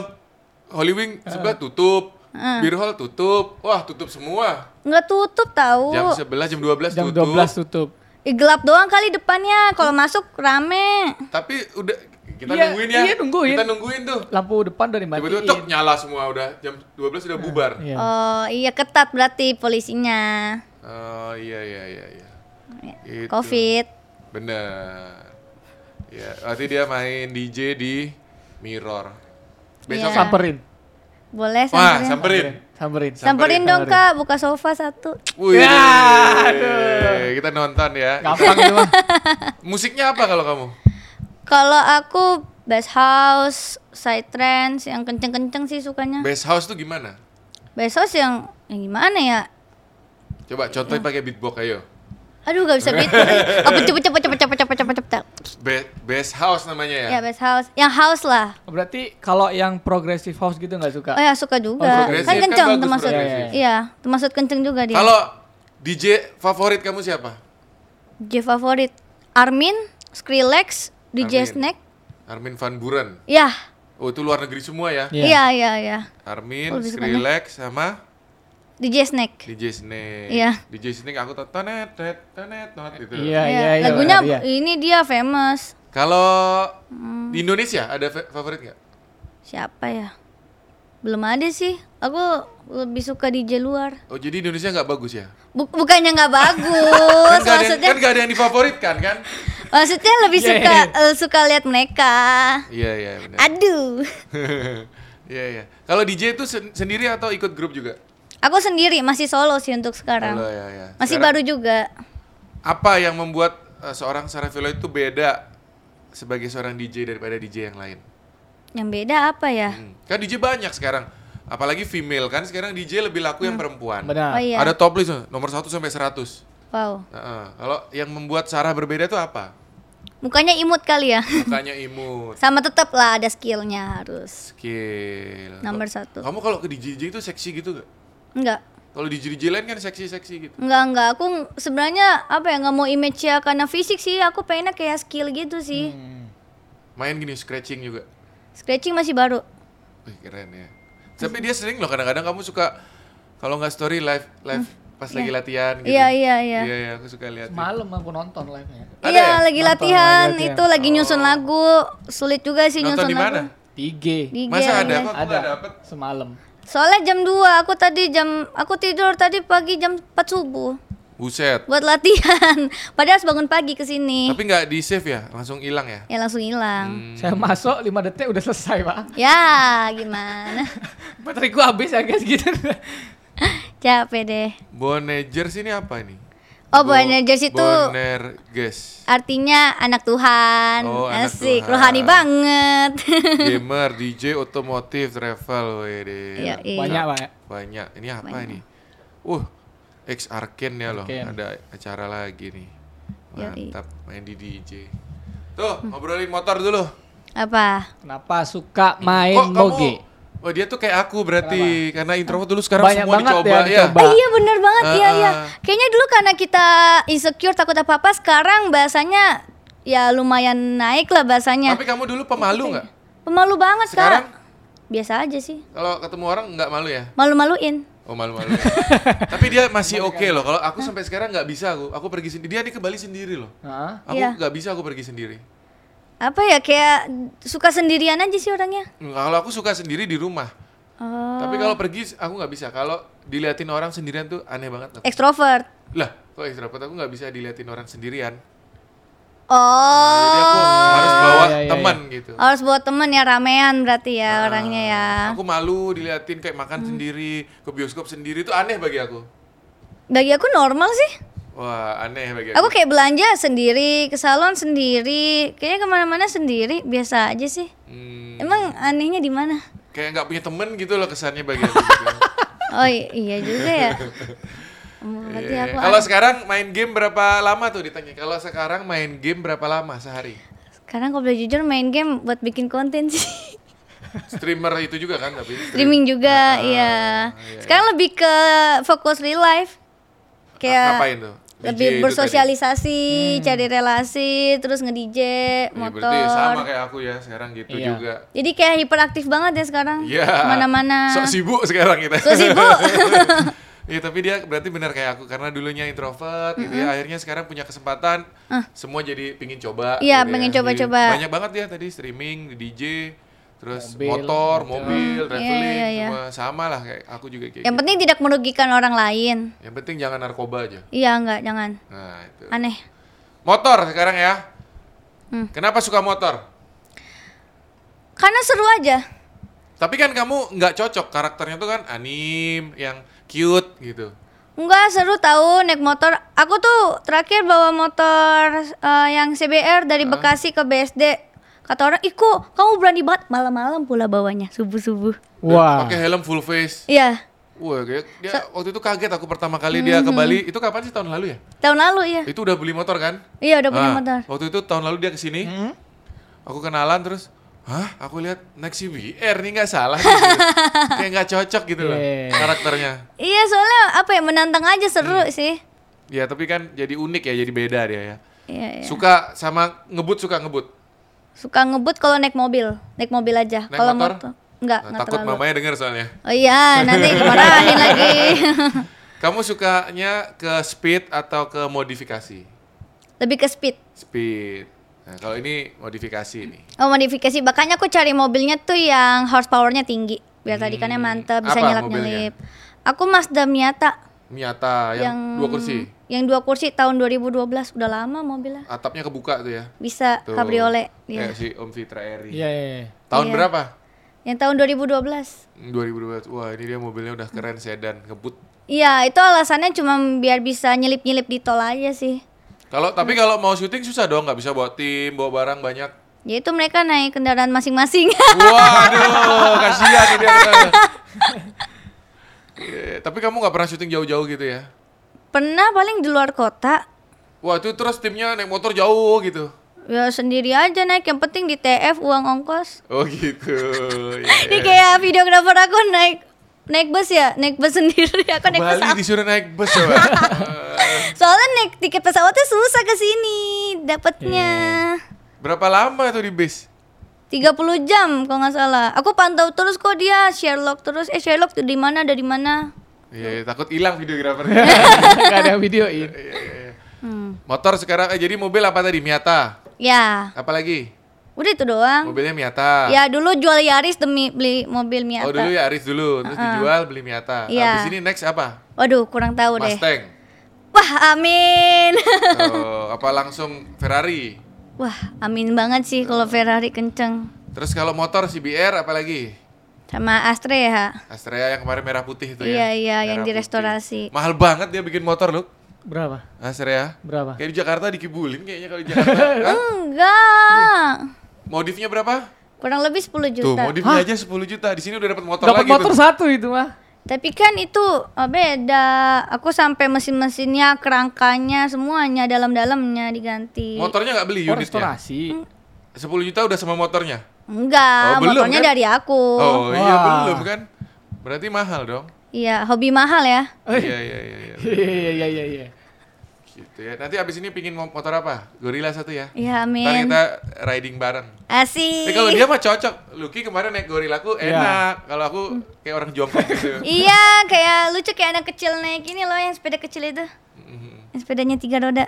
Speaker 2: Holy Wing sebelah tutup.
Speaker 1: Ah.
Speaker 2: Beer hall tutup. Wah, tutup semua.
Speaker 1: nggak tutup tahu.
Speaker 2: Jam 11, jam 12
Speaker 3: Jam
Speaker 2: tutup.
Speaker 3: 12 tutup.
Speaker 1: Ih, gelap doang kali depannya. Kalau masuk rame.
Speaker 2: Tapi udah kita
Speaker 3: Iya,
Speaker 2: nungguin ya.
Speaker 3: iya, nungguin.
Speaker 2: Kita nungguin tuh.
Speaker 3: Lampu depan udah dimatiin.
Speaker 2: Tiba-tiba tok nyala semua udah. Jam 12 udah bubar.
Speaker 3: Iya.
Speaker 1: Oh, iya ketat berarti polisinya.
Speaker 2: Oh, iya iya iya iya. Itu.
Speaker 1: Covid.
Speaker 2: Bener. Ya, nanti dia main DJ di Mirror. Besok ya?
Speaker 1: Iya.
Speaker 3: Samperin.
Speaker 1: Boleh
Speaker 2: Wah,
Speaker 1: Eh, samperin.
Speaker 2: samperin.
Speaker 3: Samperin.
Speaker 1: Samperin dong, Kak, buka sofa satu.
Speaker 2: Wih.
Speaker 3: Ya, aduh.
Speaker 2: Kita nonton ya.
Speaker 3: Gampang itu mah.
Speaker 2: Musiknya apa kalau kamu?
Speaker 1: Kalau aku bass house, side trance yang kenceng-kenceng sih sukanya.
Speaker 2: Bass house tuh gimana?
Speaker 1: Bass house yang, yang gimana ya?
Speaker 2: Coba contohin pakai beatbox ayo.
Speaker 1: Aduh, gak bisa Oh, beat. Apa cepet cepet cepet cepet cepet cepet cepet.
Speaker 2: Ba- bass house namanya ya.
Speaker 1: Ya bass house, yang house lah.
Speaker 3: Berarti kalau yang progressive house gitu nggak suka?
Speaker 1: Oh ya suka
Speaker 3: Oh,
Speaker 1: juga.
Speaker 2: progresif.
Speaker 1: kan
Speaker 2: Kan
Speaker 1: kenceng
Speaker 2: bagus
Speaker 1: termasuk.
Speaker 3: progresif.
Speaker 1: Iya, termasuk kenceng juga dia.
Speaker 2: Kalau DJ favorit kamu siapa?
Speaker 1: DJ favorit Armin, Skrillex, DJ
Speaker 2: Armin.
Speaker 1: Snack.
Speaker 2: Armin van Buren.
Speaker 1: Yah,
Speaker 2: Oh, itu luar negeri semua ya.
Speaker 3: Iya.
Speaker 1: iya iya iya.
Speaker 2: Armin,
Speaker 1: Oh, bisa kan ya?
Speaker 2: Skrillex sama
Speaker 1: DJ Snack.
Speaker 2: DJ Snake.
Speaker 1: Iya.
Speaker 2: DJ Snake aku tonton tonet tonet, tonet tonet gitu.
Speaker 3: Iya,
Speaker 1: Iya,
Speaker 3: iya, iya.
Speaker 1: Lagunya
Speaker 3: benar, iya.
Speaker 1: ini dia famous.
Speaker 2: Kalau
Speaker 1: Hmm.
Speaker 2: di Indonesia ada fa- favorit nggak?
Speaker 1: Siapa ya? Belum ada sih. Aku lebih suka DJ luar.
Speaker 2: Oh jadi Indonesia nggak bagus ya?
Speaker 1: Bu- bukannya nggak
Speaker 2: Kan
Speaker 1: bagus,
Speaker 2: nggak ada, yang-
Speaker 1: maksudnya
Speaker 2: kan nggak ada yang difavoritkan kan?
Speaker 1: maksudnya lebih
Speaker 3: Iya,
Speaker 1: suka
Speaker 3: iya,
Speaker 1: eh, suka lihat mereka.
Speaker 2: Iya iya benar.
Speaker 1: Aduh.
Speaker 2: Iya iya. Kalau DJ itu sen- sendiri atau ikut grup juga?
Speaker 1: Aku sendiri masih solo sih untuk sekarang.
Speaker 2: Solo, ya, ya.
Speaker 1: Masih baru
Speaker 2: Sekarang-
Speaker 1: juga.
Speaker 2: Apa yang membuat eh, seorang Sarafilo itu beda sebagai seorang DJ daripada DJ yang lain?
Speaker 1: Yang beda apa ya?
Speaker 2: Hmm. Kan DJ banyak sekarang. Apalagi female kan sekarang DJ lebih laku yang perempuan.
Speaker 3: Benar.
Speaker 1: Oh iya.
Speaker 2: Nah, Ada top list eh, nomor 1 sampai 100.
Speaker 1: Wow.
Speaker 2: Heeh. Kalau yang membuat Sarah berbeda itu apa?
Speaker 1: Mukanya imut kali ya.
Speaker 2: Mukanya imut,
Speaker 1: Sama tetap lah ada skillnya harus.
Speaker 2: skill.
Speaker 1: Nomor satu.
Speaker 2: Kamu kalau ke DJ DJ itu seksi gitu gak?
Speaker 1: Enggak.
Speaker 2: Kalau di DJ lain kan seksi-seksi gitu.
Speaker 1: Enggak, enggak. Aku sebenarnya apa ya nggak mau image ya karena fisik sih. Aku pengennya kayak skill gitu
Speaker 2: Hmm.
Speaker 1: sih.
Speaker 3: Hmm.
Speaker 2: Main gini scratching juga.
Speaker 1: Scratching masih baru.
Speaker 2: Wih, keren ya. Tapi dia sering loh kadang-kadang kamu suka kalau nggak story live live pas lagi latihan gitu.
Speaker 1: Hmm. Iya, iya, iya.
Speaker 2: Iya, iya, aku suka lihat.
Speaker 3: Malam aku nonton live-nya.
Speaker 2: Ada
Speaker 1: iya,
Speaker 2: ya?
Speaker 1: lagi
Speaker 3: Nonton,
Speaker 1: latihan,
Speaker 3: lagi latihan.
Speaker 1: itu lagi nyusun lagu. Sulit juga sih
Speaker 2: Oh. Nonton
Speaker 1: nyusun
Speaker 2: di
Speaker 1: lagu.
Speaker 2: mana?
Speaker 3: Di IG.
Speaker 1: Di
Speaker 2: Masa
Speaker 1: IG,
Speaker 2: ada
Speaker 1: iya.
Speaker 2: apa? Aku nggak dapet.
Speaker 3: Semalam.
Speaker 1: Soalnya jam 2, aku tadi jam aku tidur tadi pagi jam 4 subuh
Speaker 2: Buset.
Speaker 1: buat latihan. Padahal harus bangun pagi ke sini.
Speaker 2: Tapi nggak di save ya, langsung hilang ya.
Speaker 1: Ya langsung hilang.
Speaker 2: Hmm.
Speaker 3: Saya masuk 5 detik udah selesai, Pak.
Speaker 1: Ya, gimana?
Speaker 3: Bateriku habis ya guys gitu.
Speaker 1: Capek deh.
Speaker 2: Bonager sini apa ini?
Speaker 1: Oh, Bonerges itu
Speaker 2: Boner guys.
Speaker 1: artinya anak Tuhan.
Speaker 2: Oh, anak
Speaker 1: Asik,
Speaker 2: Tuhan.
Speaker 1: rohani banget.
Speaker 2: Gamer, DJ, otomotif, travel, wede.
Speaker 1: Iya, iya.
Speaker 3: Banyak, Pak.
Speaker 2: Banyak. Ini apa ini? Uh, X Arken ya loh.
Speaker 3: Arcane.
Speaker 2: Ada acara lagi nih.
Speaker 1: Yoi. Hmm.
Speaker 2: Mantap main di DJ. Tuh, ngobrolin motor dulu.
Speaker 1: Apa?
Speaker 3: Kenapa suka main
Speaker 2: Kok kamu
Speaker 3: moge?
Speaker 2: Oh, dia tuh kayak aku berarti karena introvert dulu sekarang
Speaker 3: Banyak
Speaker 2: semua
Speaker 3: banget
Speaker 2: dicoba ya.
Speaker 3: ya, dicoba. Ba-
Speaker 1: Eh, iya bener banget, iya
Speaker 2: Ah,
Speaker 1: iya.
Speaker 2: ah.
Speaker 1: Kayaknya dulu karena kita insecure takut apa-apa, sekarang bahasanya ya lumayan naik lah bahasanya.
Speaker 2: Tapi kamu dulu
Speaker 1: Iya.
Speaker 2: pemalu nggak?
Speaker 1: Pemalu banget,
Speaker 2: Sekarang?
Speaker 1: Kak. Biasa aja sih.
Speaker 2: Kalau ketemu orang nggak malu ya?
Speaker 1: Malu-maluin.
Speaker 2: Oh malu-malu. ya. Tapi dia masih oke
Speaker 3: kan?
Speaker 2: loh. Kalau aku sampai sekarang nggak bisa aku. Aku pergi sendiri. Dia nih ke Bali sendiri loh.
Speaker 3: Heeh.
Speaker 2: Aku
Speaker 1: Iya.
Speaker 2: nggak bisa aku pergi sendiri.
Speaker 1: Apa ya kayak suka sendirian aja sih orangnya.
Speaker 2: Nggak, Kalau aku suka sendiri di rumah.
Speaker 1: Oh,
Speaker 2: Tapi kalau pergi aku nggak bisa. Kalau diliatin orang sendirian tuh aneh
Speaker 1: Eh.
Speaker 2: banget. Aku.
Speaker 1: ekstrovert.
Speaker 2: Lah, kok extrovert aku nggak bisa diliatin orang sendirian.
Speaker 1: Oh,
Speaker 2: Jadi aku harus bawa
Speaker 3: Iya, iya, iya.
Speaker 2: teman Nah, gitu. Nah.
Speaker 1: harus buat temen ya ramean berarti ya orangnya ya.
Speaker 2: Aku malu diliatin kayak
Speaker 1: Hmm.
Speaker 2: makan sendiri, ke bioskop sendiri itu aneh bagi aku.
Speaker 1: Bagi aku normal sih.
Speaker 2: Wah, aneh bagi
Speaker 1: Aku
Speaker 2: aku.
Speaker 1: kayak belanja sendiri, ke salon sendiri, kayaknya kemana-mana sendiri, biasa aja sih.
Speaker 2: Hmm,
Speaker 1: Emang anehnya di mana?
Speaker 2: Kayak nggak punya temen gitu loh kesannya bagi aku. gitu. juga.
Speaker 1: Oh i- iya juga ya. Hmm, Berarti
Speaker 2: Iya.
Speaker 1: aku
Speaker 2: Kalau
Speaker 1: aneh.
Speaker 2: sekarang main game berapa lama tuh ditanya? Kalau sekarang main game berapa lama sehari?
Speaker 1: sekarang kalau boleh jujur main game buat bikin konten sih.
Speaker 2: Streamer itu juga kan tapi
Speaker 1: Streaming juga,
Speaker 2: Ah,
Speaker 1: iya. Sekarang lebih ke fokus real life. Kayak
Speaker 2: ngapain tuh?
Speaker 1: lebih
Speaker 2: DJ itu
Speaker 1: bersosialisasi, cari relasi, terus nge-DJ,
Speaker 2: tadi. Iya,
Speaker 1: motor.
Speaker 2: berarti sama kayak aku ya sekarang gitu
Speaker 3: Iya.
Speaker 2: juga.
Speaker 1: Jadi kayak hiperaktif banget ya sekarang.
Speaker 2: Iya.
Speaker 1: Mana-mana.
Speaker 2: Sok sibuk sekarang kita.
Speaker 1: Sok sibuk.
Speaker 2: Iya tapi dia berarti benar kayak aku karena dulunya introvert gitu ya akhirnya sekarang punya kesempatan semua jadi pingin
Speaker 1: Ah.
Speaker 2: coba.
Speaker 1: Iya,
Speaker 2: gitu
Speaker 1: pengen
Speaker 2: Jadi
Speaker 1: coba-coba.
Speaker 2: Banyak banget ya tadi streaming, di DJ, terus
Speaker 3: Mobil,
Speaker 2: motor,
Speaker 3: gitu.
Speaker 2: mobil, traveling,
Speaker 1: iya, iya.
Speaker 2: semua sama lah kayak aku juga
Speaker 1: Yang
Speaker 2: kayak. gitu.
Speaker 1: penting tidak merugikan orang lain.
Speaker 2: Yang penting jangan narkoba aja.
Speaker 1: Iya enggak, jangan.
Speaker 2: Nah itu.
Speaker 1: Aneh.
Speaker 2: Motor sekarang ya.
Speaker 1: Hmm.
Speaker 2: Kenapa suka motor?
Speaker 1: Karena seru aja.
Speaker 2: Tapi kan kamu nggak cocok karakternya tuh kan anim yang cute gitu.
Speaker 1: Enggak seru tahu naik motor. Aku tuh terakhir bawa motor eh, yang CBR dari Bekasi ke BSD. Kata orang, "Ih, kok kamu berani banget malam-malam pula bawanya, subuh-subuh."
Speaker 3: Wah.
Speaker 2: Pakai helm full face.
Speaker 1: Iya,
Speaker 2: Wah, kayak dia waktu itu kaget aku pertama kali dia
Speaker 1: Mhm.
Speaker 2: ke Bali. Itu kapan sih tahun lalu ya?
Speaker 1: tahun lalu ya.
Speaker 2: Itu udah beli motor kan?
Speaker 1: Iya, udah punya
Speaker 2: Ah,
Speaker 1: motor.
Speaker 2: Waktu itu tahun lalu dia ke sini.
Speaker 3: Mhm.
Speaker 2: Aku kenalan terus, "Hah, aku lihat naik CBR nih nggak salah." nih," gitu. kayak nggak cocok gitu loh
Speaker 3: Yeah.
Speaker 2: karakternya.
Speaker 1: Iya, soalnya apa ya menantang aja seru sih.
Speaker 2: Ya, tapi kan jadi unik ya, jadi beda dia ya.
Speaker 1: Iya, iya.
Speaker 2: Suka sama ngebut suka ngebut.
Speaker 1: Suka ngebut kalau naik mobil, naik mobil aja.
Speaker 2: Naik
Speaker 1: Kalau
Speaker 2: motor?
Speaker 1: motor enggak,
Speaker 2: Nah,
Speaker 1: enggak
Speaker 2: takut
Speaker 1: terlalu.
Speaker 2: mamanya denger soalnya.
Speaker 1: Oh iya, nanti dimarahin lagi.
Speaker 2: Kamu sukanya ke speed atau ke modifikasi?
Speaker 1: Lebih ke speed.
Speaker 2: Speed. Nah, kalau ini modifikasi nih.
Speaker 1: Oh modifikasi, makanya aku cari mobilnya tuh yang horsepowernya tinggi biar tadikannya mantep, bisa
Speaker 2: Hmm. Apa
Speaker 1: nyelap nyelip. Aku Mazda Miata
Speaker 2: Miata yang, dua kursi.
Speaker 1: yang dua kursi tahun 2012 udah lama mobilnya.
Speaker 2: Atapnya kebuka tuh ya.
Speaker 1: Bisa iya.
Speaker 2: Tuh. Eh.
Speaker 1: kabriolet
Speaker 2: Kayak
Speaker 1: dia.
Speaker 2: si Om Fitra Eri.
Speaker 3: Iya, iya, iya.
Speaker 2: Tahun
Speaker 1: Iya.
Speaker 2: berapa? Hmm,
Speaker 1: Yang tahun 2012.
Speaker 2: 2012. Wah, ini dia mobilnya udah keren sedan, ngebut.
Speaker 1: Iya, itu alasannya cuma biar bisa nyelip-nyelip di tol aja sih.
Speaker 2: Kalau tapi kalau mau syuting susah dong, nggak bisa bawa tim, bawa barang banyak.
Speaker 1: Yaitu Ya mereka naik kendaraan masing-masing.
Speaker 2: Waduh, kasihan ini anak-anak. Iya, tapi kamu nggak pernah syuting jauh-jauh gitu ya?
Speaker 1: Pernah paling di luar kota,
Speaker 2: Wah, itu terus timnya naik motor jauh gitu.
Speaker 1: ya sendiri aja naik. Yang penting di TF uang ongkos.
Speaker 2: Oh gitu. iya.
Speaker 1: Ini kayak videografer aku naik naik bus ya, naik bus sendiri aku naik
Speaker 2: Bali
Speaker 1: pesawat.
Speaker 2: disuruh naik bus coba. Eh,
Speaker 1: Soalnya naik tiket pesawatnya susah ke sini dapatnya.
Speaker 2: Iya. Berapa lama tuh di bis?
Speaker 1: 30 jam kalau nggak salah. Aku pantau terus kok dia Sherlock terus. Eh Sherlock tuh di mana dari mana?
Speaker 2: Iya, iya, takut hilang videografernya.
Speaker 3: Gak ada videoin.
Speaker 2: Iya, iya, iya. Motor sekarang eh jadi mobil apa tadi? Miata.
Speaker 1: Hmm, Ya,
Speaker 2: Apalagi?
Speaker 1: udah itu doang.
Speaker 2: Mobilnya Miata.
Speaker 1: Ya dulu jual Yaris demi beli mobil Miata.
Speaker 2: Iya. Oh dulu ya Aris dulu, terus dijual beli Miata. Nah,
Speaker 1: Iya.
Speaker 2: Habis ini next apa?
Speaker 1: Waduh, kurang tahu deh.
Speaker 2: Mustang.
Speaker 1: Wah, amin.
Speaker 2: Oh, apa langsung Ferrari?
Speaker 1: Wah, amin banget sih kalau Ferrari kenceng.
Speaker 2: Terus kalau motor CBR apalagi?
Speaker 1: Sama Astra ya.
Speaker 2: Astrea yang kemarin merah putih itu
Speaker 1: Iya,
Speaker 2: ya.
Speaker 1: iya, yang
Speaker 2: Merah
Speaker 1: direstorasi.
Speaker 2: putih. Mahal banget dia bikin motor, Luk.
Speaker 3: Berapa?
Speaker 2: Astrea.
Speaker 3: Berapa?
Speaker 2: Kayak di Jakarta dikibulin kayaknya kalau di Jakarta. Hah?
Speaker 1: Enggak.
Speaker 2: Modifnya berapa?
Speaker 1: Kurang lebih 10
Speaker 2: Tuh,
Speaker 1: juta.
Speaker 2: modifnya aja 10 juta. Di sini udah dapat motor
Speaker 3: Dapat
Speaker 2: lagi
Speaker 3: motor
Speaker 2: tuh.
Speaker 3: satu itu mah.
Speaker 1: Tapi kan itu eh, beda. Aku sampai mesin-mesinnya, kerangkanya, semuanya dalam-dalamnya diganti.
Speaker 2: Motornya nggak beli
Speaker 3: Oh,
Speaker 2: unitnya.
Speaker 3: restorasi.
Speaker 2: 10 juta udah sama motornya.
Speaker 1: Enggak,
Speaker 2: Oh, belum,
Speaker 1: motornya
Speaker 2: kan?
Speaker 1: dari aku.
Speaker 2: Oh, iya
Speaker 3: Wah.
Speaker 2: belum kan? Berarti mahal dong.
Speaker 1: Iya, hobi mahal ya.
Speaker 2: Iya, iya, iya, iya.
Speaker 3: Iya, iya, iya, iya.
Speaker 2: Gitu ya. Nanti abis ini pingin mo- motor apa? Gorilla satu ya.
Speaker 1: Iya,
Speaker 2: Ntar
Speaker 1: amin.
Speaker 2: kita riding bareng. Tapi
Speaker 1: Asik.
Speaker 2: kalau dia mah cocok. Lucky kemarin naik gorillaku
Speaker 3: Iya.
Speaker 2: enak. Kalau aku kayak orang jongkok gitu.
Speaker 1: Iya, kayak lucu kayak anak kecil naik ini loh yang sepeda kecil itu. Yang
Speaker 2: Mhm.
Speaker 1: sepedanya tiga roda.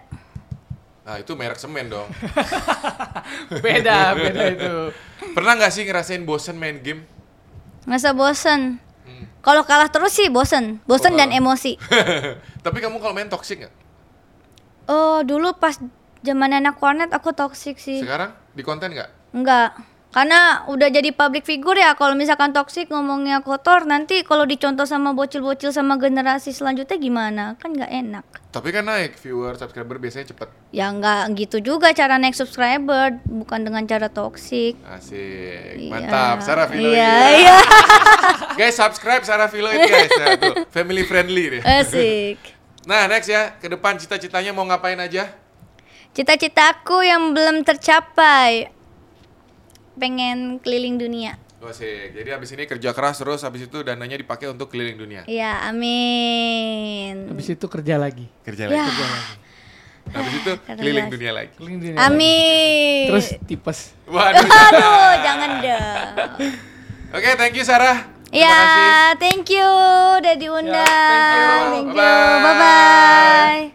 Speaker 2: Nah itu merek semen dong.
Speaker 3: Beda, beda itu.
Speaker 2: Pernah nggak sih ngerasain bosen main game?
Speaker 1: Masa bosen?
Speaker 2: Hmm.
Speaker 1: Kalau kalah terus sih bosen. Bosen
Speaker 2: Oh,
Speaker 1: dan
Speaker 2: kalah.
Speaker 1: emosi.
Speaker 2: Tapi kamu kalau main toxic nggak?
Speaker 1: Oh, dulu pas zaman anak warnet aku toksik sih.
Speaker 2: Sekarang di konten nggak?
Speaker 1: Enggak. Karena udah jadi public figure ya kalau misalkan toksik ngomongnya kotor nanti kalau dicontoh sama bocil-bocil sama generasi selanjutnya gimana? Kan nggak enak.
Speaker 2: Tapi kan naik viewer, subscriber biasanya cepet.
Speaker 1: Ya nggak gitu juga cara naik subscriber bukan dengan cara toksik.
Speaker 2: Asik,
Speaker 1: Iya.
Speaker 2: mantap. Sarah Filoid.
Speaker 1: Iya, iya.
Speaker 2: Guys, subscribe Sarah Filoid guys. Nah, tuh, family friendly deh.
Speaker 1: Asik.
Speaker 2: Nah, next ya. Ke depan cita-citanya mau ngapain aja?
Speaker 1: Cita-citaku yang belum tercapai pengen keliling dunia.
Speaker 2: Asik. Jadi abis ini kerja keras terus, abis itu dananya dipakai untuk keliling dunia.
Speaker 1: Iya, amin.
Speaker 3: Habis itu kerja lagi.
Speaker 2: Kerja
Speaker 1: Ya.
Speaker 2: lagi. Abis itu
Speaker 1: Keren
Speaker 2: keliling
Speaker 1: banget.
Speaker 2: dunia lagi.
Speaker 3: Keliling dunia lagi.
Speaker 1: Amin.
Speaker 3: Terus tipes.
Speaker 2: Waduh.
Speaker 1: Aduh, jangan dong.
Speaker 2: Oke, thank you Sarah. Terima
Speaker 1: Ya,
Speaker 2: kasih. Ya,
Speaker 1: thank you udah diundang.
Speaker 2: thank
Speaker 1: thank
Speaker 2: you.
Speaker 1: you.
Speaker 2: Bye-bye.
Speaker 1: Bye bye.